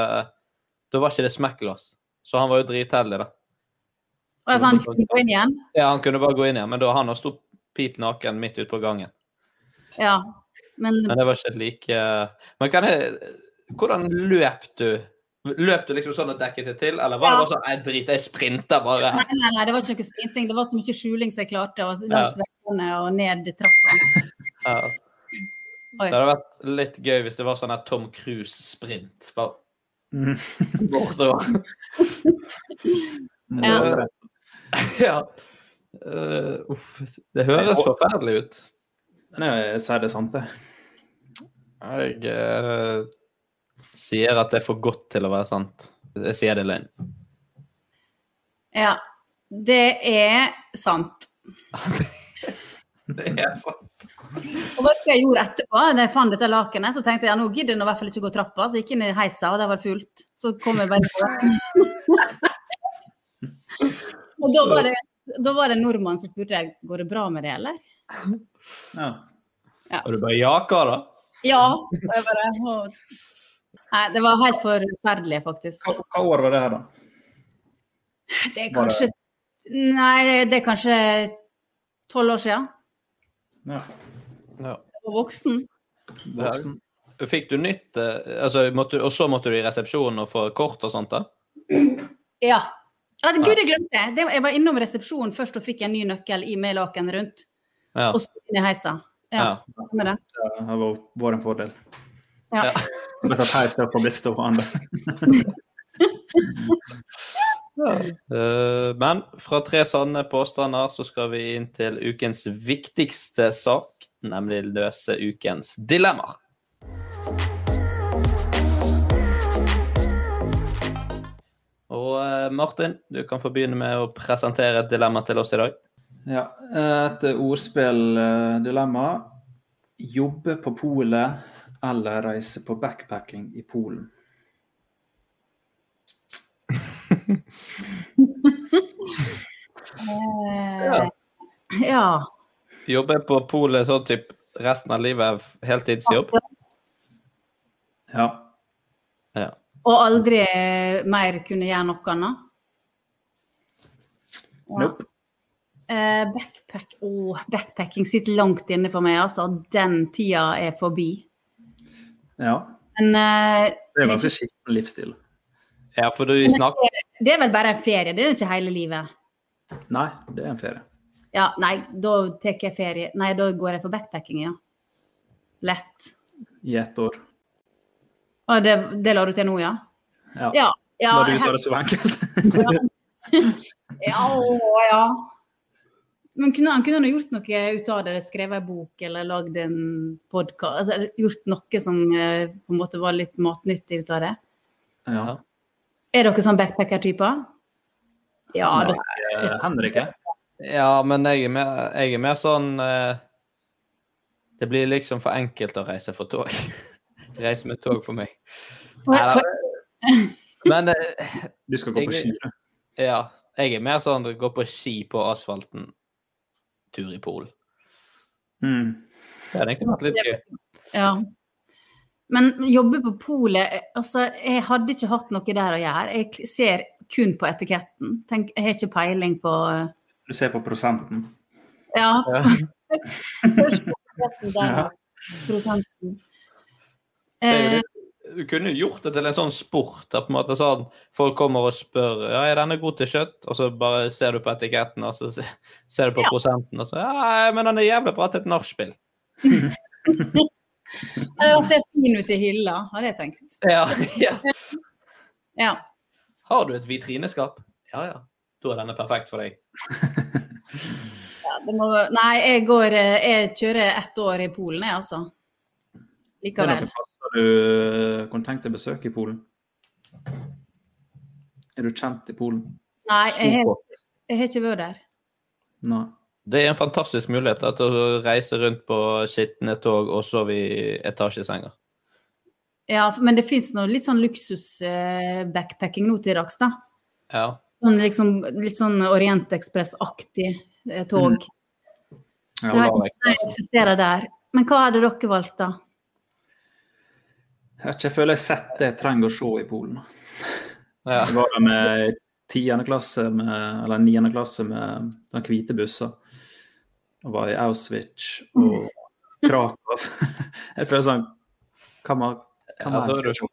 A: da var ikke det smekklås. Så han var jo dritheldig, da.
C: Og jeg sa han fikk gå inn igjen.
A: Ja, han kunne bare gå inn igjen, men da han sto pit naken midt ute på gangen.
C: Ja. Men
A: Men det var ikke like eh, Men kan jeg Hvordan løp du? Løp du liksom sånn og dekket det til, eller var det
C: Ja.
A: bare sånn Jeg driter, jeg sprinter bare.
C: Nei, nei, nei, det var ikke noe sprinting. Det var så mye skjuling som jeg klarte, og
A: Ja.
C: langs veggene og ned trappa.
A: Ja. Det
C: Oi.
A: hadde vært litt gøy hvis det var sånn her Tom Cruise-sprint. Bare bortover.
B: Ja.
A: ja. Eh, uff, det høres forferdelig ut.
B: Men jeg sier det sant, det.
A: Jeg eh, sier at det er for godt til å være sant. Jeg sier det er løgn.
C: Ja. Det er sant.
A: Det er sant.
C: Og hva jeg gjorde etterpå, da jeg fant dette lakenet, så tenkte jeg ja, nå gidder jeg nå i hvert fall ikke gå trappa. Så jeg gikk inn i heisa, og der var det fullt. Så kom jeg bare på. og da var, det, da var det en nordmann som spurte jeg, går det bra med det, eller?
A: Og du bare ja, hva da?
C: Ja. Og jeg bare, «Å». Nei, det var helt forferdelig, faktisk.
B: Hva år var det her, da?
C: Det er
B: Var
C: kanskje
B: det-
C: Nei, det er kanskje tolv år siden.
B: Ja.
A: Ja.
C: Jeg var voksen.
A: Voksen. Fikk du nytt eh, altså, måtte, Og så måtte du i resepsjonen og få kort og sånt? da?
C: Ja. At Gud, jeg glemte det. det! Jeg var innom resepsjonen først og fikk en ny nøkkel i med laken rundt.
A: Ja.
C: Og så inn i heisa. Ja. Med det.
B: Det har vært- vært en fordel.
C: Ja.
B: Dette peiset på å bli stående.
A: Eh, men fra tre sanne påstander så skal vi inn til ukens viktigste sak, nemlig løse ukens dilemmaer. Og eh, Martin, du kan få begynne med å presentere et dilemma til oss i dag.
B: Ja. Et ordspilldilemma. Jobbe på polet eller reise på backpacking i Polen?
C: Eh, ja.
A: Jobbe på polet sånn typ resten av livet, heltidsjobb?
B: Ja.
A: ja.
C: Og aldri eh, mer kunne gjøre noe annet. Ja.
B: Nope.
C: Eh, backpack Åh, backpacking sitter langt inne for meg, altså. Den tida er forbi.
B: Ja.
C: Men eh,
B: Det er en ganske skitten livsstil.
A: Ja, for du
C: Men det- Det er vel bare en ferie, det er ikke hele livet.
B: Nei, det er en ferie.
C: Ja, nei, da tar jeg ferie. Nei, da går jeg for backpacking, ja. Lett.
B: I ett år.
C: Og det, det la du til nå, ja?
B: Ja.
C: Ja, ja,
B: da du sa
C: her-
B: det så enkelt.
C: Ja, å, ja. Men kunne han kunne han ha gjort noe ut av det? eller Skrevet en bok eller lagd en podkast? Altså, eller gjort noe som eh, på en måte var litt matnyttig ut av det?
B: Ja.
C: Er dere sånn backpacker-typer? Ja,
A: Nei,
C: dere.
B: Eh, Henrik, ja.
A: Ja, men jeg er mer, jeg er mer sånn eh, Det blir liksom for enkelt å reise for tog. reise med tog for meg. Nei, da, men eh,
B: Du skal gå på ski, du.
A: Ja. Jeg er mer sånn gå på ski på asfalten, tur i Polen.
B: Mm.
A: Det hadde egentlig vært litt gøy.
C: Ja. Men jobbe på polet Altså, jeg hadde ikke hatt noe der å gjøre. Jeg k- ser kun på etiketten. Tenk, jeg har ikke peiling på eh,
B: Du ser på prosenten.
C: Ja.
B: Ja.
C: Der, prosenten.
A: Det er jo
C: Eh,
A: litt- Du kunne jo gjort det til en sånn sport. Da, på en måte sånn, Folk kommer og spør ja, er denne god til kjøtt, og så bare ser du på etiketten og så se- ser du på prosenten, og så ja, men han er jævlig bra til et nachspiel.
C: det hadde sett fin ut i hylla, hadde jeg tenkt.
A: Ja, ja.
C: Ja.
A: Har du et vitrineskap? Ja ja, da er denne perfekt for deg.
C: Ja, det må, nei, jeg, går, eh, jeg kjører ett år i Polen, jeg, altså.
B: Det er
C: Likevel.
B: noen plasser du kunne tenkt deg besøk i Polen? Er du kjent i Polen?
C: Nei, jeg, har- jeg har ikke vært der.
B: Nei.
A: Det er en fantastisk mulighet da, til å reise rundt på skitne tog og sove i etasjesenger.
C: Ja, men det fins nå litt sånn luksus-backpacking nå til dags, da.
A: Ja.
C: Sånn, liksom, litt sånn Orientekspress-aktig eh, tog.
A: Mm. Ja,
C: Jeg vet
B: Olav
C: ikke om det eksisterer der. Men hva hadde dere valgt, da?
B: Jeg, vet ikke, jeg føler jeg har sett det jeg trenger å se i Polen.
A: Ja.
B: Jeg var der med tiende klasse med, eller niende klasse med den hvite bussen. Og var i Auschwitz og Krakow. Jeg føler sånn Hva man, hva
A: Ja,
B: man
A: da, er sånn du,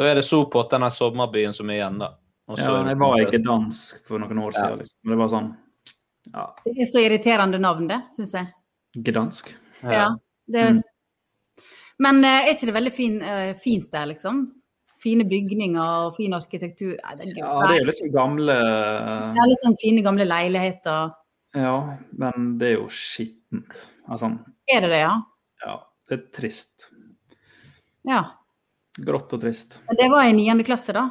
A: da er det Sopot, denne sommerbyen som er igjen, da. Og så er
B: Ja,
A: det- sånn
B: jeg var ikke dansk for noen år siden. Liksom. Men det var sånn
C: Det er så irriterende navn, det, syns jeg.
B: Gdansk.
C: Ja. Det er...
B: Mm.
C: Men eh, er ikke det veldig fin, eh, fint der, liksom? Fine bygninger og fin arkitektur. Nei, det er gøy.
B: Ja, det er jo litt sånn gamle
C: Det er litt sånn fine, gamle leiligheter.
B: Ja, men det er jo skittent. Altså,
C: Er det det, ja?
B: ja, det er trist.
C: Ja.
B: Grått og trist.
C: Men det var i niende klasse, da?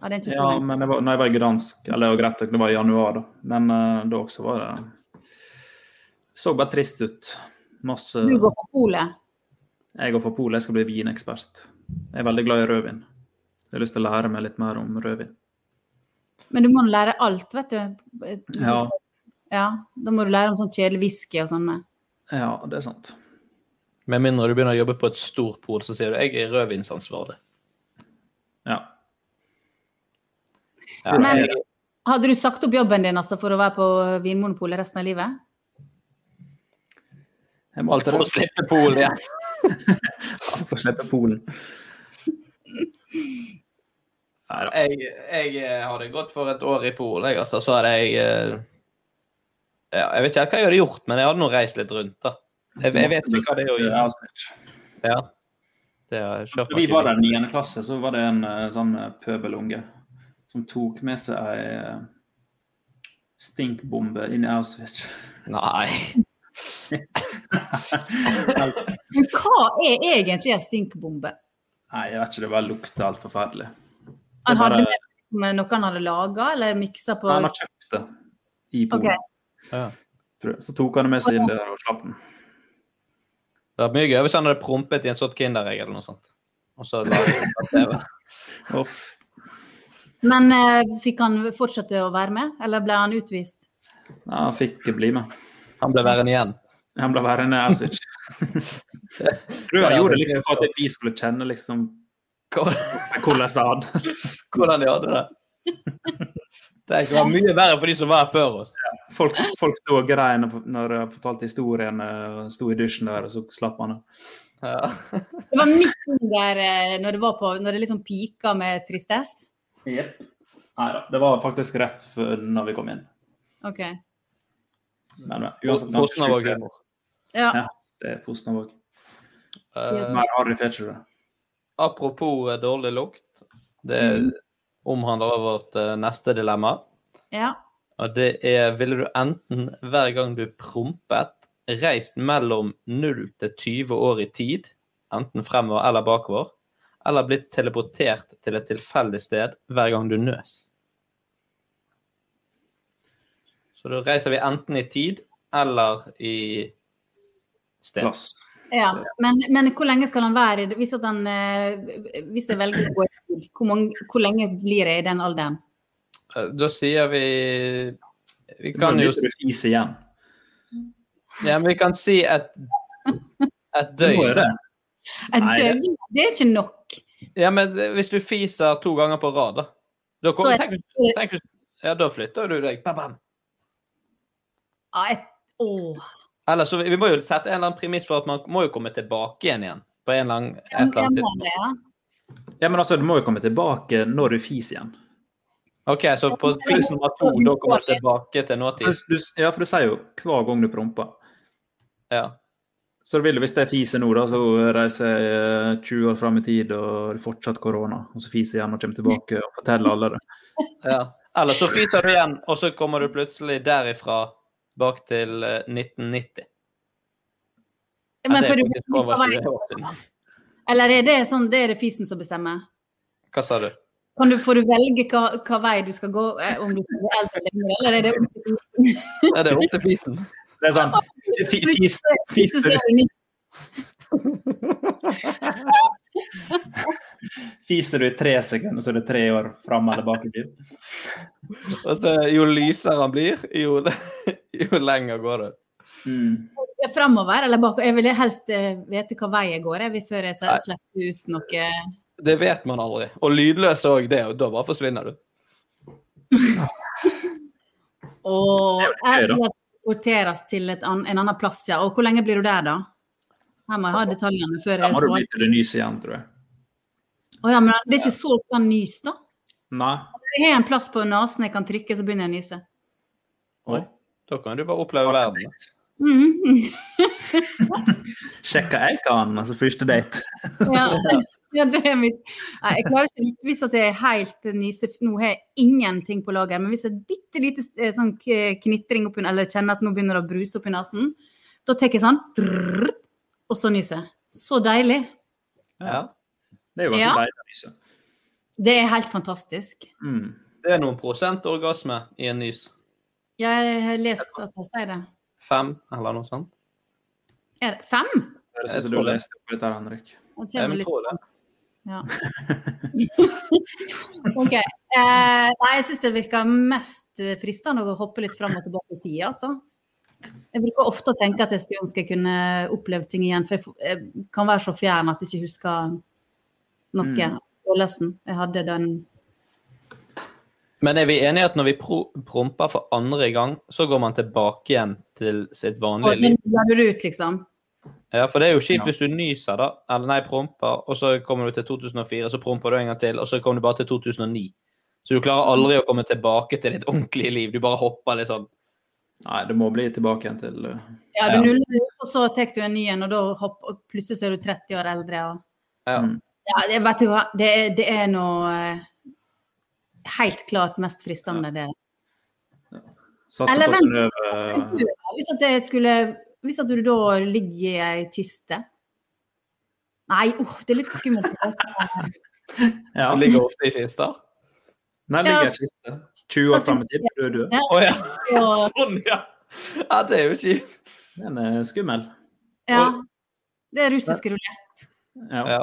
C: Ja, det er ikke så
B: Ja,
C: lenge.
B: men det var, når jeg var i Gdansk, eller det var greit, nok, det var i januar, da. men eh, da også var det Så bare trist ut. Masse
C: Du går på polet?
B: Jeg går for polet, jeg skal bli vinekspert. Jeg er veldig glad i rødvin. Jeg har lyst til å lære meg litt mer om rødvin.
C: Men du må lære alt, vet du.
B: Ja,
C: Ja, Da må du lære om sånn kjedelig whisky og sånn.
B: ja det er sant.
A: Med mindre du begynner å jobbe på et stort pol, så sier du 'jeg er rødvinsansvarlig'.
B: Ja.
C: Men- Hadde du sagt opp jobben din altså, for å være på Vinmonopolet resten av livet?
B: Jeg må alltid
A: For å slippe Polen igjen.
B: For å slippe Polen.
A: Jeg, jeg eh, hadde gått for et år i Polen, jeg, altså. Så hadde jeg eh, ja, Jeg vet ikke helt hva jeg hadde gjort, men jeg hadde nå reist litt rundt, da. Jeg, jeg vet ikke hva det er å gjøre. Ja. Det er, kjørt
B: Når vi var der i 9. klasse, så var det en eh, sånn eh, pøbelunge som tok med seg ei eh, stinkbombe inn i Auschwitz.
A: Nei.
C: Men hva er egentlig en stinkbombe?
B: Nei, jeg vet ikke, det bare lukter helt forferdelig. Det
C: Han
B: er
C: hadde
B: bare-
C: med med noe han hadde laga, eller miksa på
B: Nei, Han har kjøpt det i Polen.
C: Ok.
B: Tror jeg. Så tok han det med seg inn der og slapp den.
A: Det hadde vært mye gøy hvis han hadde prompet i en sånn Kinderegg eller noe sånt. Og så laget han på TV.
C: Men eh, fikk han fortsette å være med, eller ble han utvist?
B: Nei, han fikk bli med.
A: Han ble værende igjen?
B: Han ble værende i Auschwitz. Tror jeg han gjorde det liksom for at vi skulle kjenne liksom hvordan det hadde
A: Hvordan de hadde det. Det var mye verre for de som var her før oss.
B: Folk, folk sto og grein når- når jeg fortalte historien, eh, sto i dusjen der, og så slapp han det.
C: Det var midt under eh, når det, var på, når det liksom pika med tristesse.
B: Jepp. Nei da, det var faktisk rett før når vi kom inn.
C: OK.
B: Men, men,
A: Fos- Fosnavåg-humor.
C: Ja.
B: Ja, det er Fosnavåg.
A: Eh,
B: Mer Harry Fetcher.
A: Apropos eh, dårlig lukt. Det omhandler vårt eh, neste dilemma.
C: Ja.
A: Og det er ville du enten hver gang du prompet, reist mellom 0 til 20 år i tid, enten fremover eller bakover, eller blitt teleportert til et tilfeldig sted hver gang du nøs. Så da reiser vi enten i tid eller i sted.
C: ja. Men, men hvor lenge skal han være i det? Hvis, at han, eh, hvis jeg velger å gå i tid, hvor, mange, hvor lenge blir jeg i den alderen?
A: Eh, Da sier vi Vi kan
B: blir
A: jo
B: litt rufis igjen.
A: Ja, men vi kan si et, et
B: Det må jo
A: døgn.
B: det.
C: Et
A: Nei, det-
C: døgn, det er ikke nok.
A: Ja, men det- hvis du fiser to ganger på rad, da Da,
C: Så
A: kommer,
C: er-
A: tenk, tenk, ja, da flytter du deg. Bam, bam.
C: Ja, et, åh.
A: Ellers, så, vi vi må jo sette en eller annen premiss for at man må jo komme tilbake igjen igjen. På en eller annen, et
C: Jeg
A: eller annet
C: må
A: tidspunkt.
C: det, ja.
B: Ja, men altså, du må jo komme tilbake når du fiser igjen.
A: OK, så på fis nummer to, da kommer du tilbake til nåtid?
B: Du, ja, for du sier jo hver gang du promper.
A: Ja.
B: Så det vil jo, hvis jeg fiser nå, da, så reiser jeg eh, 20 år fram i tid og det er fortsatt korona. Og så fiser jeg igjen og kommer tilbake og forteller alle det.
A: ja. Eller så fiser du igjen, og så kommer du plutselig derifra bak til eh, 1990.
C: Ja,
A: Ja, det
C: men
A: er
C: for du-
A: faktisk over 20 år siden.
C: Eller er det sånn, det er det fisen som bestemmer?
A: Hva sa du?
C: Kan du, får du velge hva, hva vei du skal gå, eh, om du skal bli eldre eller yngre, eller er det opp til
A: Ja, det er opp til fisen.
B: Det er sånn fi- fis, Fiser du, fiser du i tre sekunder, så er det tre år fram eller bak i tid.
A: Og så, Altså, jo lysere han blir, jo, jo lenger går det.
B: Mm.
C: Framover eller bakover? Jeg ville helst eh, vite hva vei jeg går, jeg, vil- før jeg
A: Nei.
C: s- slipper ut noe
A: Det vet man aldri. Og lydløs òg, det. Og da bare forsvinner du.
C: Og
A: er jo gøy, da.
C: eller porteres til et an, en annen plass, ja. Og hvor lenge blir du der, da? Her må jeg ha detaljene før
B: Da
C: jeg
B: må du
C: svarer.
B: bli til det nys igjen, tror jeg.
C: Å ja, men det er ikke så ofte han nys, da?
B: Nei.
C: Jeg har en plass på nesen jeg kan trykke, så begynner jeg å nyse.
A: Oi. Da kan du bare oppleve verden.
C: Mhm.
B: Sjekker jeg kan, altså første date.
C: Ja. Ja, det er mitt. Nei, jeg klarer ikke Hvis at jeg er helt nyse Nå har jeg ingenting på lager, men hvis jeg er bitte lite eh, sånn k- knitring oppi Eller kjenner at nå begynner det å bruse oppi nesen, da tar jeg sånn drrrr, Og så nyser jeg. Så deilig.
A: Ja.
B: Det er jo
C: Ja.
B: ganske deilig å Mm. nyse.
C: Det er helt fantastisk.
A: Det er noen prosent orgasme i en nys.
C: Jeg har lest at jeg sier det.
A: Fem, eller noe sånt.
C: Er det fem?
B: Det
A: Jeg
B: synes jeg du
A: tror det.
B: leste opp dette, her, Henrik.
A: Jeg
C: Jeg tjener litt.
A: tror det.
C: Ja. OK. Eh, nei, jeg syns det virker mest eh, fristende å hoppe litt fram og tilbake i tid, altså. Jeg bruker ofte å tenke at jeg skulle ønske jeg kunne opplevd ting igjen, for jeg, f- jeg kan være så fjern at jeg ikke husker noe.
A: Mm.
C: Følelsen jeg hadde den
A: Men er vi enige at når vi pro promper for andre gang, så går man tilbake igjen til sitt vanlige
C: Og den
A: liv?
C: blader ut, liksom.
A: Ja, for det er jo kjipt hvis du nyser, da. Eller nei, promper, og så kommer du til 2004, så promper du en gang til, og så kommer du bare til 2009. Så du klarer aldri å komme tilbake til ditt ordentlige liv. Du bare hopper litt sånn.
B: Nei, det må bli tilbake igjen til uh,
C: Ja, du
A: Ja.
C: nuller ut, og så tar du en ny en, og da hopper, og plutselig så er du 30 år eldre. og
A: Ja.
C: Ja, det, vet du hva, det, er- det er noe eh, helt klart mest fristende, det.
B: Satse
C: Eller
B: på uh,
C: vent.
B: Synnøve.
C: Hvis at, jeg skulle, hvis at du da ligger i ei kiste Nei, åh, det er litt skummelt.
B: Ja.
A: Du ligger ofte i kister.
B: Nei,
C: Ja.
B: ligger i kiste. 20 år fram i tid, du er død.
C: Ja.
A: Å ja. Sånn, ja. Ja, det er jo kjipt.
B: Den er skummel.
C: Ja, det er russisk rulett.
B: Ja.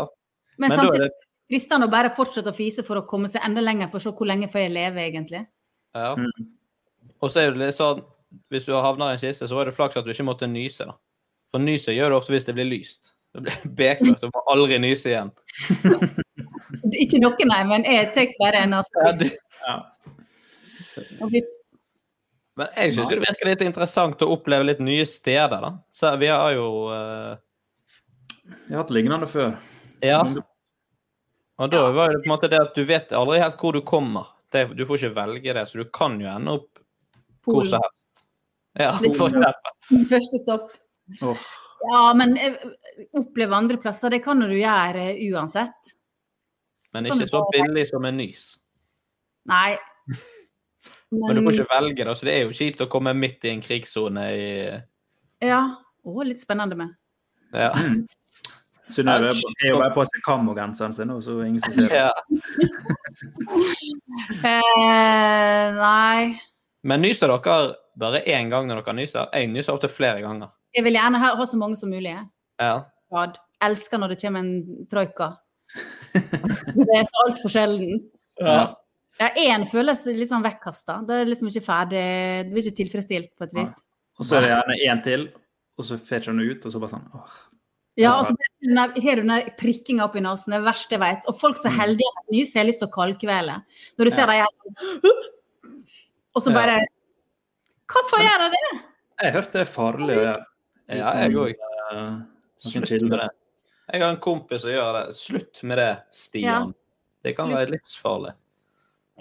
B: Men
C: Men,
B: da er
C: samtidig
B: det-
C: fristende å bare fortsette å fise for å komme seg enda lenger, for å se hvor lenge får jeg leve, egentlig.
A: Ja. Og så er det litt sånn Hvis du havner i en kiste, så var det flaks at du ikke måtte nyse. da. For nyse gjør du ofte hvis det blir lyst. Det blir bekmørkt, du må aldri nyse igjen.
C: Ikke noe, nei, men jeg tar bare en aspirin. og vips.
A: Men jeg syns det virker litt interessant å oppleve litt nye steder, da. Så vi har jo eh,
B: Jeg har hatt lignende før.
A: Ja. Og da var det på en måte det at du vet aldri helt hvor du kommer. Det, du får ikke velge det, så du kan jo ende opp hvor
C: Polen.
A: som helst. Ja,
C: Det-
A: for eksempel.
C: Første stopp.
B: Åh.
C: Ja, men eh, oppleve andre plasser, det kan du gjøre eh, uansett.
A: Men ikke så billig som en nys.
C: Nei.
A: Men du får ikke velge, da, så det er jo kjipt å komme midt i en krigssone i
C: Ja. Å, litt spennende med.
A: ja.
B: Mm, Synnøve er jo bare på seg Kammo-genseren sin nå, så ingen som ser det.
C: Eh, nei.
A: Men nyser dere bare én gang når dere nyser? Jeg nyser ofte flere ganger.
C: Jeg vil gjerne ha, ha så mange som mulig. jeg.
A: Ja.
C: Rad. Elsker når det kommer en troika. Det er så altfor sjelden.
A: Ja.
C: Ja, Én føles litt sånn vekkasta. Da er det liksom ikke ferdig Du blir ikke tilfredsstilt på et vis.
B: Og så er det gjerne én til, og så får ikke han ut, og så bare sånn åh.
C: Ja, altså, det er den der- Har du den der prikkinga opp i nesen? Det er det verste jeg vet. Og folk som er heldige med nys, har jeg lyst til å kalkvele. Når du ser dem her Og så bare Hvorfor gjør jeg det?
B: Jeg hørte det er farlig å gjøre.
A: Ja, jeg òg.
B: Mm. Noen
A: Slutt med
B: kilder.
A: det. Jeg har en kompis som gjør det. Slutt med det,
C: Ja.
A: Stian. Det kan
C: Slutt.
A: være livsfarlig.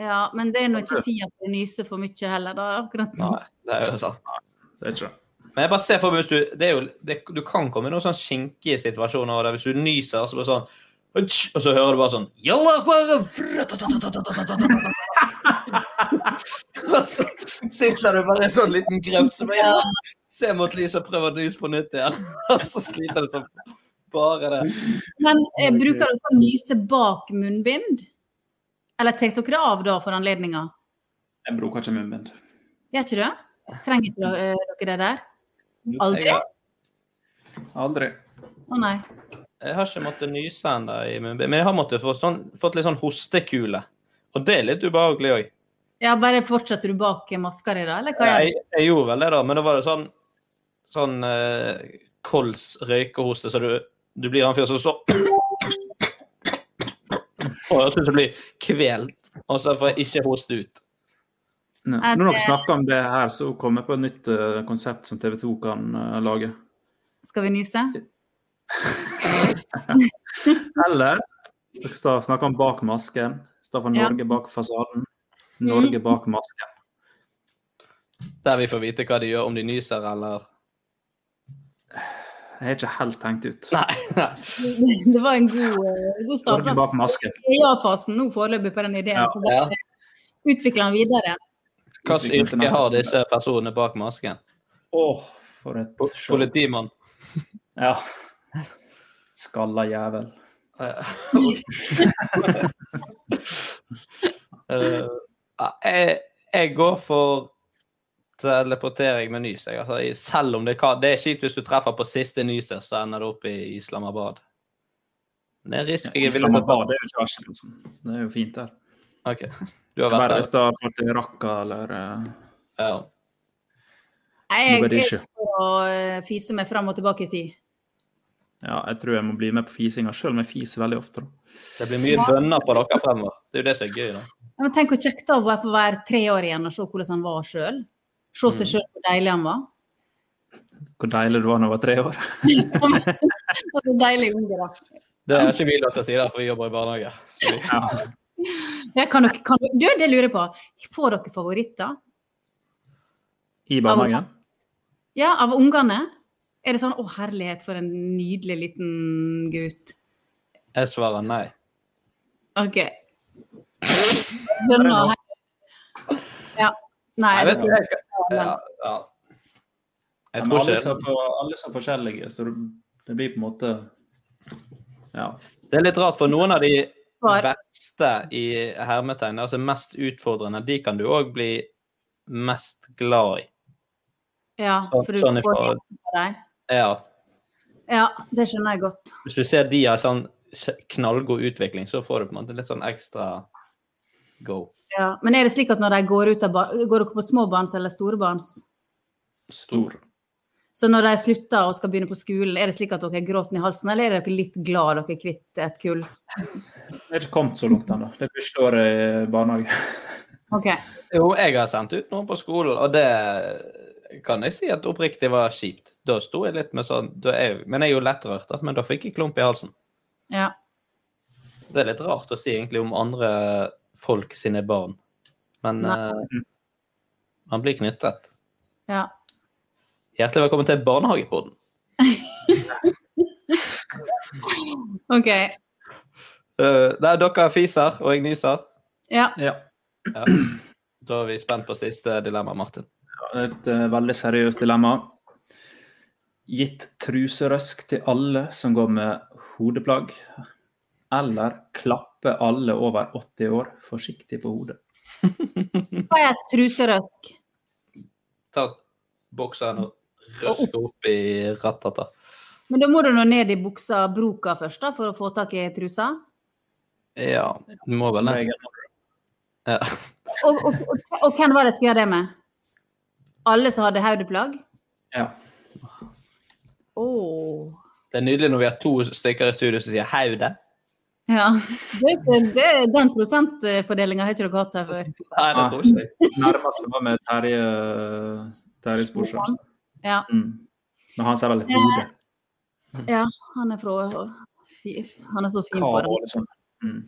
C: Ja, men det er nå ikke tida for å nyse for mye heller, da. akkurat nå.
A: Nei, det er jo sånn. sant.
B: Det er ikke det.
A: Men jeg bare ser for meg hvis du det er jo, det, Du kan komme i noen sånn skinkige situasjoner av det. Hvis du nyser, og så bare sånn «Atsch!» Og så hører du bare sånn «Jalla, bare fra-ta-ta-ta-ta-ta-ta-ta-ta-ta!» Og så sitter du bare i en sånn liten grøft som bare «Ja!» ser mot lyset og prøver å nyse på nytt igjen. Og så sliter du sånn. Bare det.
C: Men eh, bruker dere å nyse bak munnbind? Eller tar dere det av da for anledninga?
B: Jeg bruker ikke munnbind.
C: Gjør ikke det? Trenger ikke dere eh, dere det der? Aldri?
B: Aldri.
C: Å nei.
A: Jeg har ikke måttet nyse ennå, i munnbind, men jeg har måttet få sånn, fått litt sånn hostekule. Og det er litt ubehagelig òg.
C: Ja, bare fortsetter du bak maska di da, eller hva gjør
A: Jeg,
C: du?
A: jeg gjorde vel det, da, men da var det sånn sånn eh, kols røykehoste, så du, du blir han fyren som så Og jeg syns jeg blir kvelt, og så får jeg ikke hoste ut.
B: Nei.
C: Er
B: Når dere
C: det-
B: snakker om det her, så kommer jeg på et nytt eh, konsept som TV 2 kan eh, lage.
C: Skal vi nyse?
B: Eller dere sta- snakker om bak masken. Istedenfor
C: Ja.
B: Norge bak fasaden. Norge bak masken.
A: Der vi får vite hva de gjør, om de nyser eller
B: Jeg har ikke helt tenkt ut.
A: Nei.
C: Det var en god, eh, god start.
B: Norge bak masken.
C: Ja-fasen nå foreløpig på den ideen.
B: Ja.
C: så bare Utvikle den videre.
A: Hva slags yrke har disse personene bak masken?
B: Åh, for et show.
A: Politimann.
B: Ja. Skalla jævel.
A: Eh, jeg, jeg går for teleportering med nys. Jeg, altså, jeg- selv om det kan Det er kjipt hvis du treffer på siste nyset, så ender du opp i Islamabad. Det er en risk jeg ville tatt.
B: Islamabad, det er jo ikke Askelassen. Det er jo fint der.
A: Ok. Du har vært
B: Bare
A: der.
B: hvis det har vært i Raqqa eller eh,
C: Nei, jeg jeg
B: Mogadishu.
C: prøver å eh, fise meg fram og tilbake i tid.
B: Ja, jeg tror jeg må bli med på fisinga sjøl, men jeg fiser veldig ofte. da.
A: Det blir mye bønner på dere fremover. Det er jo det som er gøy. da.
C: Ja, Men tenk hvor kjekt det var å få være tre år igjen og se hvordan han var sjøl. Se seg
A: Mm.
C: sjøl hvor deilig han var.
B: Hvor deilig det var da jeg var tre år.
C: Og så deilig unge, da.
A: Det har ikke vi lov til å si, der, for vi jobber i barnehage. Så vi...
C: Jeg kan, dere- kan, du, det lurer jeg på. Får dere favoritter?
B: I barnehagen.
C: Ja, av ungene? Er det sånn 'Å, herlighet, for en nydelig liten gutt'?
A: Jeg svarer nei.
C: OK. Skjønner. Ja. Nei,
A: Jeg,
C: jeg
A: vet,
C: vet
A: jeg,
C: ikke.
A: ja, ja. jeg
B: Men
A: tror
B: alle
A: ikke
B: så for- Alle er så forskjellige, så det det blir på en måte Ja.
A: Det er litt rart, for noen av de
C: Svar.
A: verste i hermetegn, altså mest utfordrende, de kan du òg bli mest glad i.
C: Ja,
A: Sånn-
C: for du
A: sånn i
C: får
A: forhold.
C: litt på deg.
A: Ja.
C: Ja, det skjønner jeg godt.
A: Hvis du ser de har sånn kj- knallgod utvikling, så får du på en måte litt sånn ekstra go.
C: Ja. Men er det slik at når de går ut av bar Går dere på småbarns eller storebarns?
A: Stor.
C: Så når de slutter og skal begynne på skolen, er det slik at dere har gråten i halsen, eller er dere litt glad dere er kvitt et kull?
B: Jeg har ikke kommet så langt ennå. Det er første året i barnehage.
C: OK.
A: Jo, jeg har sendt ut noen på skolen, og det kan jeg si at oppriktig var kjipt. Da sto jeg litt med sånn da er, Men jeg er jo lettrørt, da, men da fikk jeg klump i halsen.
C: Ja.
A: Det er litt rart å si egentlig om andre folk sine barn, men
C: Nei.
A: eh, man blir knyttet.
C: ja.
A: Hjertelig velkommen til Barnehagepodden.
C: OK.
A: Uh, der dere fiser, og jeg nyser.
C: Ja.
A: Ja. Da er vi spent på siste dilemma, Martin.
B: Et eh, veldig seriøst dilemma. Gitt truserøsk til alle som går med hodeplagg, eller klappe alle over 80 år forsiktig på hodet?
C: Hva er et truserøsk?
A: Ta bokseren og røske opp i ratata.
C: Men da må du nå ned i buksa broka først, da, for å få tak i trusa.
A: Ja, du må vel det. Ja.
C: Og, og, og, og hvem var det jeg skulle gjøre det med? Alle som hadde hodeplagg?
B: Ja.
C: Åh.
A: Det er nydelig når vi har to stykker i studio som sier 'haude'.
C: Ja. Det, det, det- den prosentfordelinga har ikke dere hatt her før.
A: Nei, det tror jeg ikke.
B: Nærmeste var med Terje eh, Terje Sporsem.
C: Ja.
B: Mm. Men han sier vel hode.
C: ja, han er fra Fy, Han er så fin på
B: Hva
C: det.
B: var det sånn? Mm.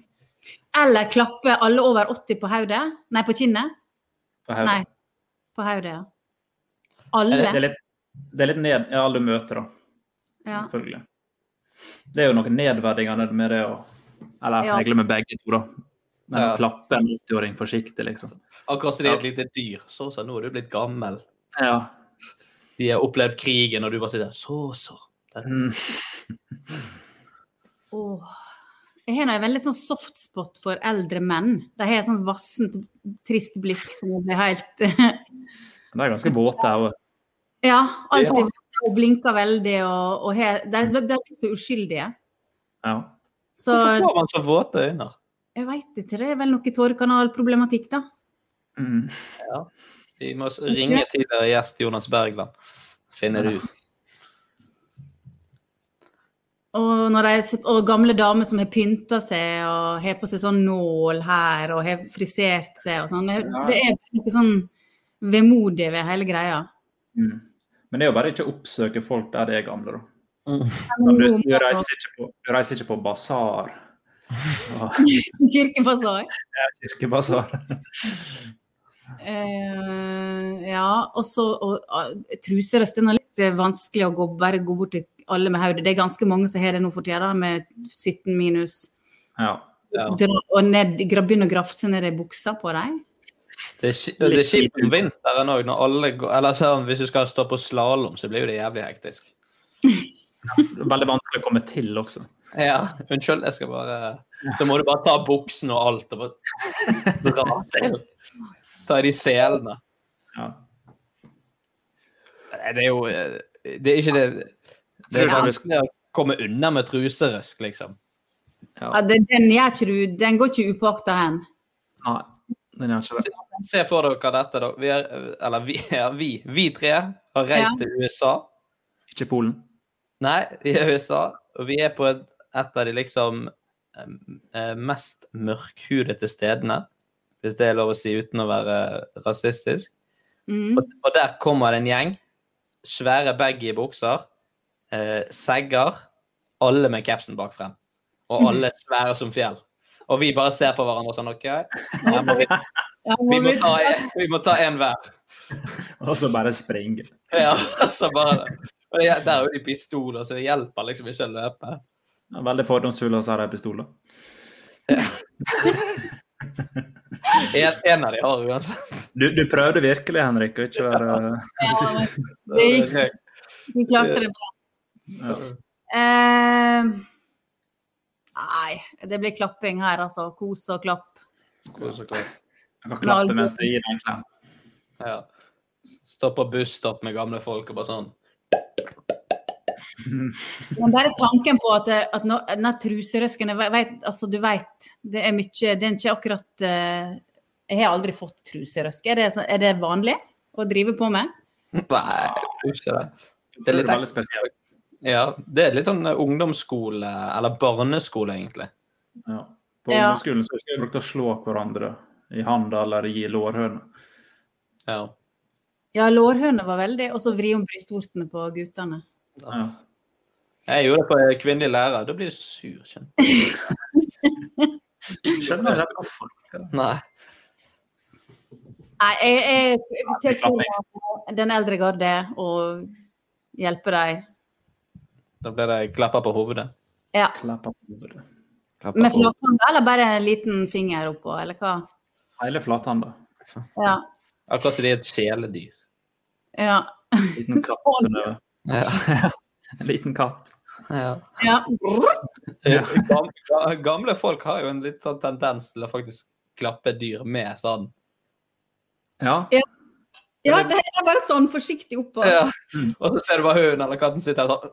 C: Eller klappe alle over 80 på hodet. Nei, på kinnet.
B: På hodet.
C: Nei, på hodet, ja.
B: Det er, det, er
C: Alle.
B: litt, det er litt ned ja, alle møter, da.
C: Ja.
B: Selvfølgelig. Det er jo noe nedverdigende med det å Eller
C: Ja.
B: egentlig med begge to, da. Men å
A: Ja.
B: klappe en 80-åring forsiktig, liksom.
A: Akkurat som de er et lite dyr. Så så, nå er du blitt gammel.
B: Ja.
A: De har opplevd krigen, og du bare sitter der. Så så. Dette-
B: Mm.
C: Åh. Jeg har nå en veldig sånn soft spot for eldre menn. De har et sånn vassent, trist blikk som blir helt
B: Men De er ganske våte, her òg.
C: Ja,
B: Ja.
C: alltid og blinker veldig og, og har De de- de er så uskyldige.
B: Ja.
C: Så
A: Hvorfor får man så våte øyne?
C: jeg veit ikke, det er vel noe tårekanalproblematikk, da.
B: Mm.
A: Ja. Vi må s- ringe tidligere gjest Jonas Bergland. Finne det ut.
C: Og, når de, og gamle damer som har pynta seg og har på seg sånn nål her og har frisert seg og sånn. Det, det er noe sånn vemodig ved hele greia.
B: Mm. Men det er jo bare ikke å oppsøke folk der de er gamle, da.
C: Ja, men
B: Du,
C: nå må-
B: du, reiser ikke på, du reiser ikke på basar. Og-
C: Kirkebasar.
B: Ja, Kirkebasar.
C: Eh, ja, og så og, og, truserøst. Den er litt eh, vanskelig å gå, bare gå bort til alle med hodet. Det er ganske mange som har det nå for tida, da, med 17 minus.
B: Ja.
C: Dra, og ned, gra- begynne å grafse ned i buksa på dem.
A: Det er ki- det er kjipt om vinteren òg, når alle går Eller sånn, hvis du skal stå på slalåm, så blir jo det jævlig hektisk.
B: Veldig vanskelig å komme til også.
A: Ja, unnskyld, jeg skal bare Da må du bare ta buksen og alt og bare dra til. Ta i de selene.
B: Ja.
A: Nei, Det er jo eh, Det er ikke det Det er
B: Tror du det-
A: vanskelig å komme unna med truserøsk, liksom.
C: Ja, den, den, gjør ikke du, den går ikke upåakta hen.
B: Nei, den gjør ikke det.
A: Se for dere dette, da. Vi er, eller vi, ja, vi, vi tre har reist
C: Ja.
A: til USA.
B: Ikke Polen.
A: Nei, vi er i USA, og vi er på et, et av de liksom eh, mest mørkhudete stedene, hvis det er lov å si uten å være rasistisk.
C: Mm.
A: Og, og der kommer det en gjeng. Svære baggy bukser. Eh, segger. Alle med capsen bak frem. Og alle svære som fjell. Og vi bare ser på hverandre og sånn OK, her må vi, vi, må ta, en- vi må ta en hver.
B: Og så bare springe.
A: Ja, så bare og det, Der er jo de pistoler, så det hjelper liksom ikke å løpe.
B: Ja, Veldig fordomsfulle, og så har de pistoler.
A: En, en av de har uansett.
B: Du, du prøvde virkelig, Henrik, å ikke være
C: Det gikk. Du klarte det bra.
B: Ja.
C: Eh, nei, det blir klapping her, altså. Kos og klapp.
B: Jeg kan klappe mens du gir deg en klem.
A: Ja. Stå på busstopp med gamle folk og bare sånn.
C: Men bare tanken på at, eh, at nå, denne truserøsken jeg vet, altså, Du vet, det er mye Det er ikke akkurat eh, Jeg har aldri fått truserøske. Er det, så- er det vanlig å drive på med?
A: Nei, jeg tror ikke det. Det er litt
B: veldig spesielt.
A: Ja, det er litt sånn ungdomsskole, eller barneskole, egentlig.
B: Ja. På
C: Ja.
B: ungdomsskolen så husker jeg vi brukte å slå hverandre i handa eller i lårhøna.
A: Ja.
C: Ja, lårhøne var veldig, og så vri om brystvortene på guttene.
A: Jeg gjorde det på en kvinnelig lærer. Da blir du så sur, skjønner du.
B: Skjønner ikke hvorfor.
A: Nei.
C: Nei, jeg, jeg, jeg tar for meg den eldre garde og hjelper dem.
A: Da blir det klapper på hovedet.
C: Ja.
B: Klappa på hovedet.
C: Med flathånda eller bare en liten finger oppå, eller hva?
B: Hele flathanda.
C: Ja.
A: Akkurat som de er et kjæledyr.
C: ja.
B: Liten katt.
A: Sånn.
B: under. En liten katt.
A: Ja.
C: ja.
A: Eh, gam- ga- Gamle folk har jo en litt sånn tendens til å faktisk klappe dyr med sånn.
B: Ja.
C: ja, det er bare sånn forsiktig oppå.
A: Og så ser du bare hunden eller katten sitter her sånn.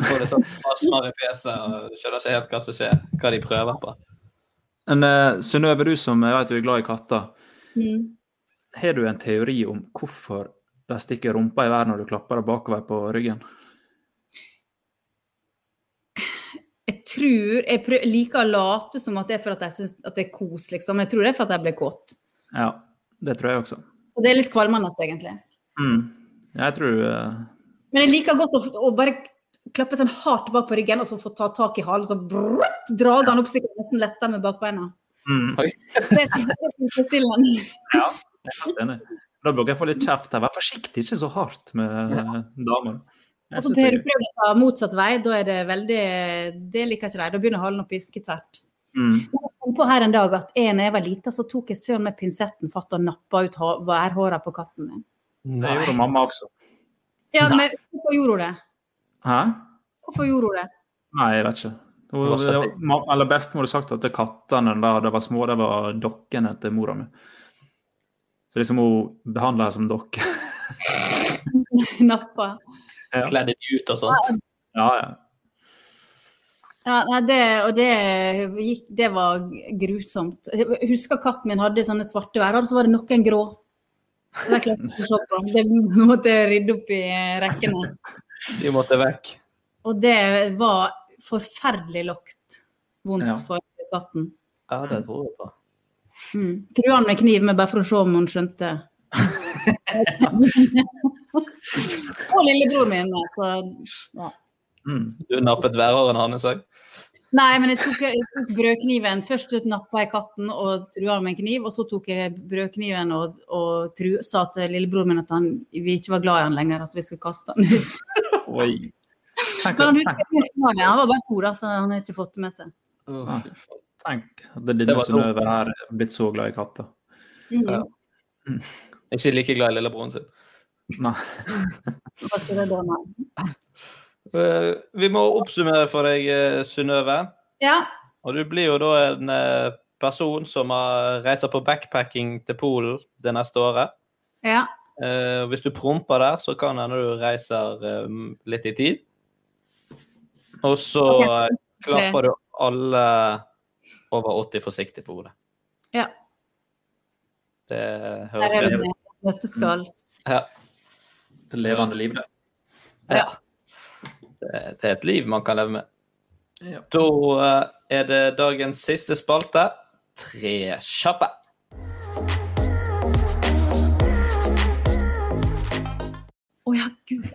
A: Får det sånn astma i fjeset og skjønner ikke helt hva som skjer, hva de prøver på.
B: Men uh, Synnøve, du som jeg vet du er glad i katter,
C: Mm.
B: har du en teori om hvorfor de stikker rumpa i været når du klapper deg bakover på ryggen?
C: tror Jeg prø- liker å late som at det er for at jeg syns at det er kos, liksom. Jeg tror det er for at jeg ble kåt.
B: Ja, det tror jeg også.
C: Så det er litt kvalmende, egentlig.
B: Mm. Jeg tror eh,
C: Men jeg liker godt å, å bare klappe sånn hardt bak på ryggen og så få ta tak i halen og så brrrt, dra han opp så jeg nesten letter med bakbeina.
B: Oi,
C: Det er tilfredsstillende.
B: jeg er helt enig. Da burde jeg få litt kjeft her. Vær forsiktig, ikke så hardt med damer. Jeg
C: Altså,
B: synes
C: det har
B: det
C: du prøvd å ta motsatt vei, da er det veldig Det liker ikke de. Da begynner halen å piske tvert.
B: Mm.
C: Men Jeg kom på her en dag at en, da jeg var lita, så tok jeg søren meg pinsetten fatt og nappa ut ha- værhåra på katten min.
B: det gjorde mamma også.
C: Ja, men hvorfor gjorde hun det?
B: Hæ?
C: Hvorfor gjorde hun det?
B: Nei, jeg vet ikke. Hun,
A: Det var så
B: det- ma- eller bestemor hadde sagt at det kattene da de var små, det var dokkene til mora mi. Så liksom hun behandla dem som dokker.
C: nappa?
A: Kledde de ut og sånt.
B: Ja, ja.
C: Ja, nei, det, og det, gikk, det var grusomt. Jeg husker katten min hadde sånne svarte værer, og så var det noen grå. Det, klarte jeg ikke å se på. det måtte jeg rydde opp i rekkene.
A: De måtte vekk.
C: Og det var forferdelig lukt. Vondt
A: Ja.
C: for katten.
A: Ja, det tror jeg på.
C: Mm. Trua han med kniv, men bare for å se om hun skjønte. og lillebroren min. altså. Så, ja.
B: Mm.
A: Du nappet værhåren hans òg?
C: Nei, men jeg tok, jeg tok brødkniven. Først nappa jeg katten og trua han med en kniv, og så tok jeg brødkniven og, og tru, sa til lillebroren min at han, vi ikke var glad i han lenger, at vi skulle kaste han ut.
B: Oi.
C: Men han husker ikke hva det var, han var bare to, da, så han har ikke fått det med seg.
B: Ja. Tenk at det
A: Det
B: lille
A: var
B: Synnøve her er blitt så glad i katter.
C: Mm.
A: Ja. Ikke like glad i lillebroren sin.
B: Nei.
C: Det var ikke det da, nei.
A: Eh, Vi må oppsummere for deg, eh, Synnøve.
C: Ja,
A: Og du blir jo da en eh, person som har- reiser på backpacking til Polen det neste året.
C: ja.
A: Eh, Hvis du promper der, så kan hende du reiser eh, litt i tid. Og så eh, klapper du alle over 80 forsiktig på hodet.
C: Ja.
A: Det høres
C: Der er det
A: bedre ut.
C: nøtteskall.
A: Ja.
B: Det levende liv, det.
A: Ja. Det det er et liv man kan leve med.
B: Ja.
A: Da eh, er det dagens siste spalte. Tre kjappe.
C: Å ja, gud.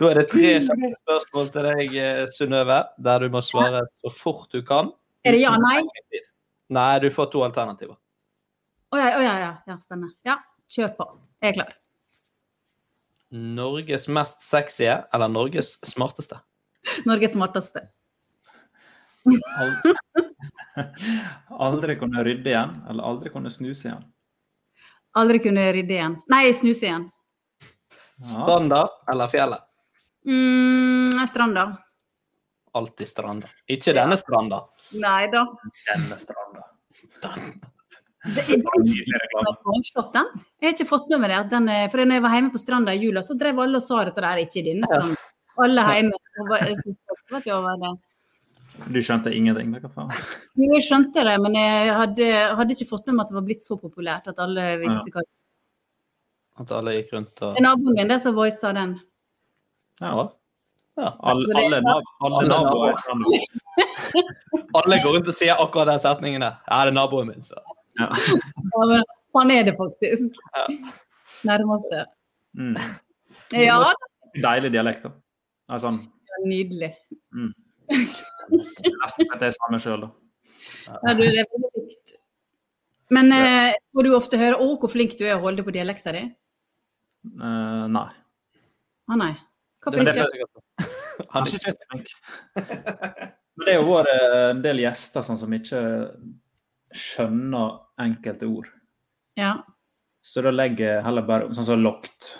A: Da er det tre
C: Mm.
A: kjappe spørsmål til deg, eh, Synnøve, der du må svare så fort du kan.
C: Er det ja, nei?
A: Nei, du får to alternativer.
C: Å ja, å ja, ja, ja, stemmer. Ja, kjør på. Jeg er klar.
A: Norges mest sexy eller Norges smarteste?
C: Norges smarteste.
B: Aldri, aldri kunne rydde igjen, eller aldri kunne snuse igjen.
C: Aldri kunne rydde igjen. Nei, snuse igjen.
A: Stranda eller fjellet?
C: Mm, stranda.
A: Alltid stranda. Ikke denne stranda.
C: Nei da.
B: Denne stranda.
C: Det er Slått den. Jeg har ikke fått med meg det. At den, er- for når jeg var hjemme på stranda i jula, så drev alle og sa dette der, ikke i denne stranda. Alle hjemme. Og var- jeg synes det var ikke over det.
B: Du skjønte ingenting? Hva faen?
C: Jo, Jeg skjønte det, men jeg hadde, hadde ikke fått med meg at det var blitt så populært at alle visste hva det
A: At alle gikk rundt
C: var.
A: og
C: Det er naboen min det som voisa den.
B: Ja.
C: Alle- Så det- alle nav-
B: alle
A: Alle
B: naboer er
A: naboer. Alle går rundt og sier akkurat den setningen der. Ja, det er naboen min, så.
C: Ja, men Han er det faktisk. Nærmeste.
B: Mm.
C: Ja, det
B: Deilig dialekt, da. Altså,
C: er nydelig.
B: mm. Nesten at jeg er samme sjøl, da.
C: Ja, du, det er veldig likt. Men eh, får du ofte høre 'Å, hvor flink du er å holde deg på dialekta di'?
B: Eh, nei.
C: Å nei. Hvorfor
B: Men det er-
C: ikke?
B: Han er ikke flink. Men det har vært eh, en del gjester sånn som ikke skjønner enkelte ord.
C: Ja.
B: Så da legger jeg heller bare sånn som lokt.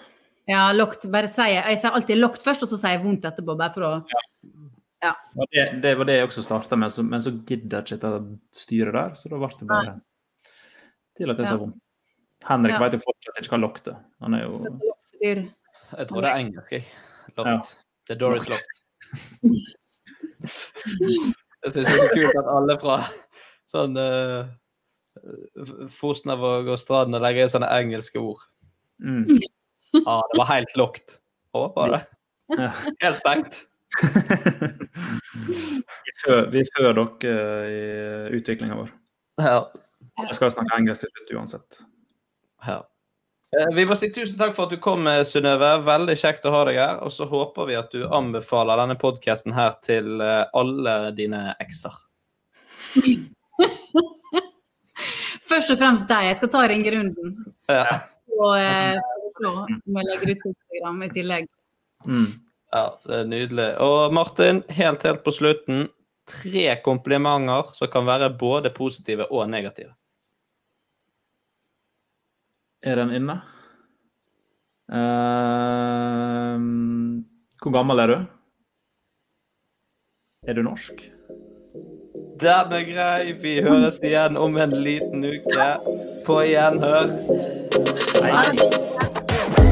C: ja, lokt. Bare sier jeg. sier alltid lokt først, og så sier jeg vondt etterpå, bare for å
B: Og Det, det var det jeg også starta med, så, men så gidder jeg ikke dette styret der, så da ble det bare til at det
C: Ja.
B: sa vondt. Henrik
C: Ja.
B: vet jo fortsatt ikke hva lokt er. Han er jo
C: dyr.
A: Jeg tror det er engelsk, jeg. Locked.
B: Ja.
A: Det er Doris Locked. Jeg syns det er så kult at alle fra sånn eh, F- Fosnavåg og Stranda legger inn sånne engelske ord. Ah,
B: mm.
A: Ja, det var helt locked. Håper det.
B: Ja.
A: Helt stengt.
B: Vi før, vi før dere eh, i utviklinga vår.
A: Ja.
B: Jeg skal jo snakke engelsk til slutt uansett.
A: Eh, Vi må si tusen takk for at du kom, eh, Synnøve. Veldig kjekt å ha deg her. Og så håper vi at du anbefaler denne podkasten her til eh, alle dine ekser.
C: Først og fremst deg. Jeg skal ta ringerunden.
A: Ja.
C: Og eh, så må jeg legge ut på Instagram i tillegg.
B: Mm.
A: Ja, det er nydelig. Og Martin, helt helt på slutten, tre komplimenter som kan være både positive og negative.
B: Er den inne? Ehm, hvor gammel er du? Er du norsk?
A: Den er grei. Vi høres igjen om en liten uke. På gjenhør. Hei.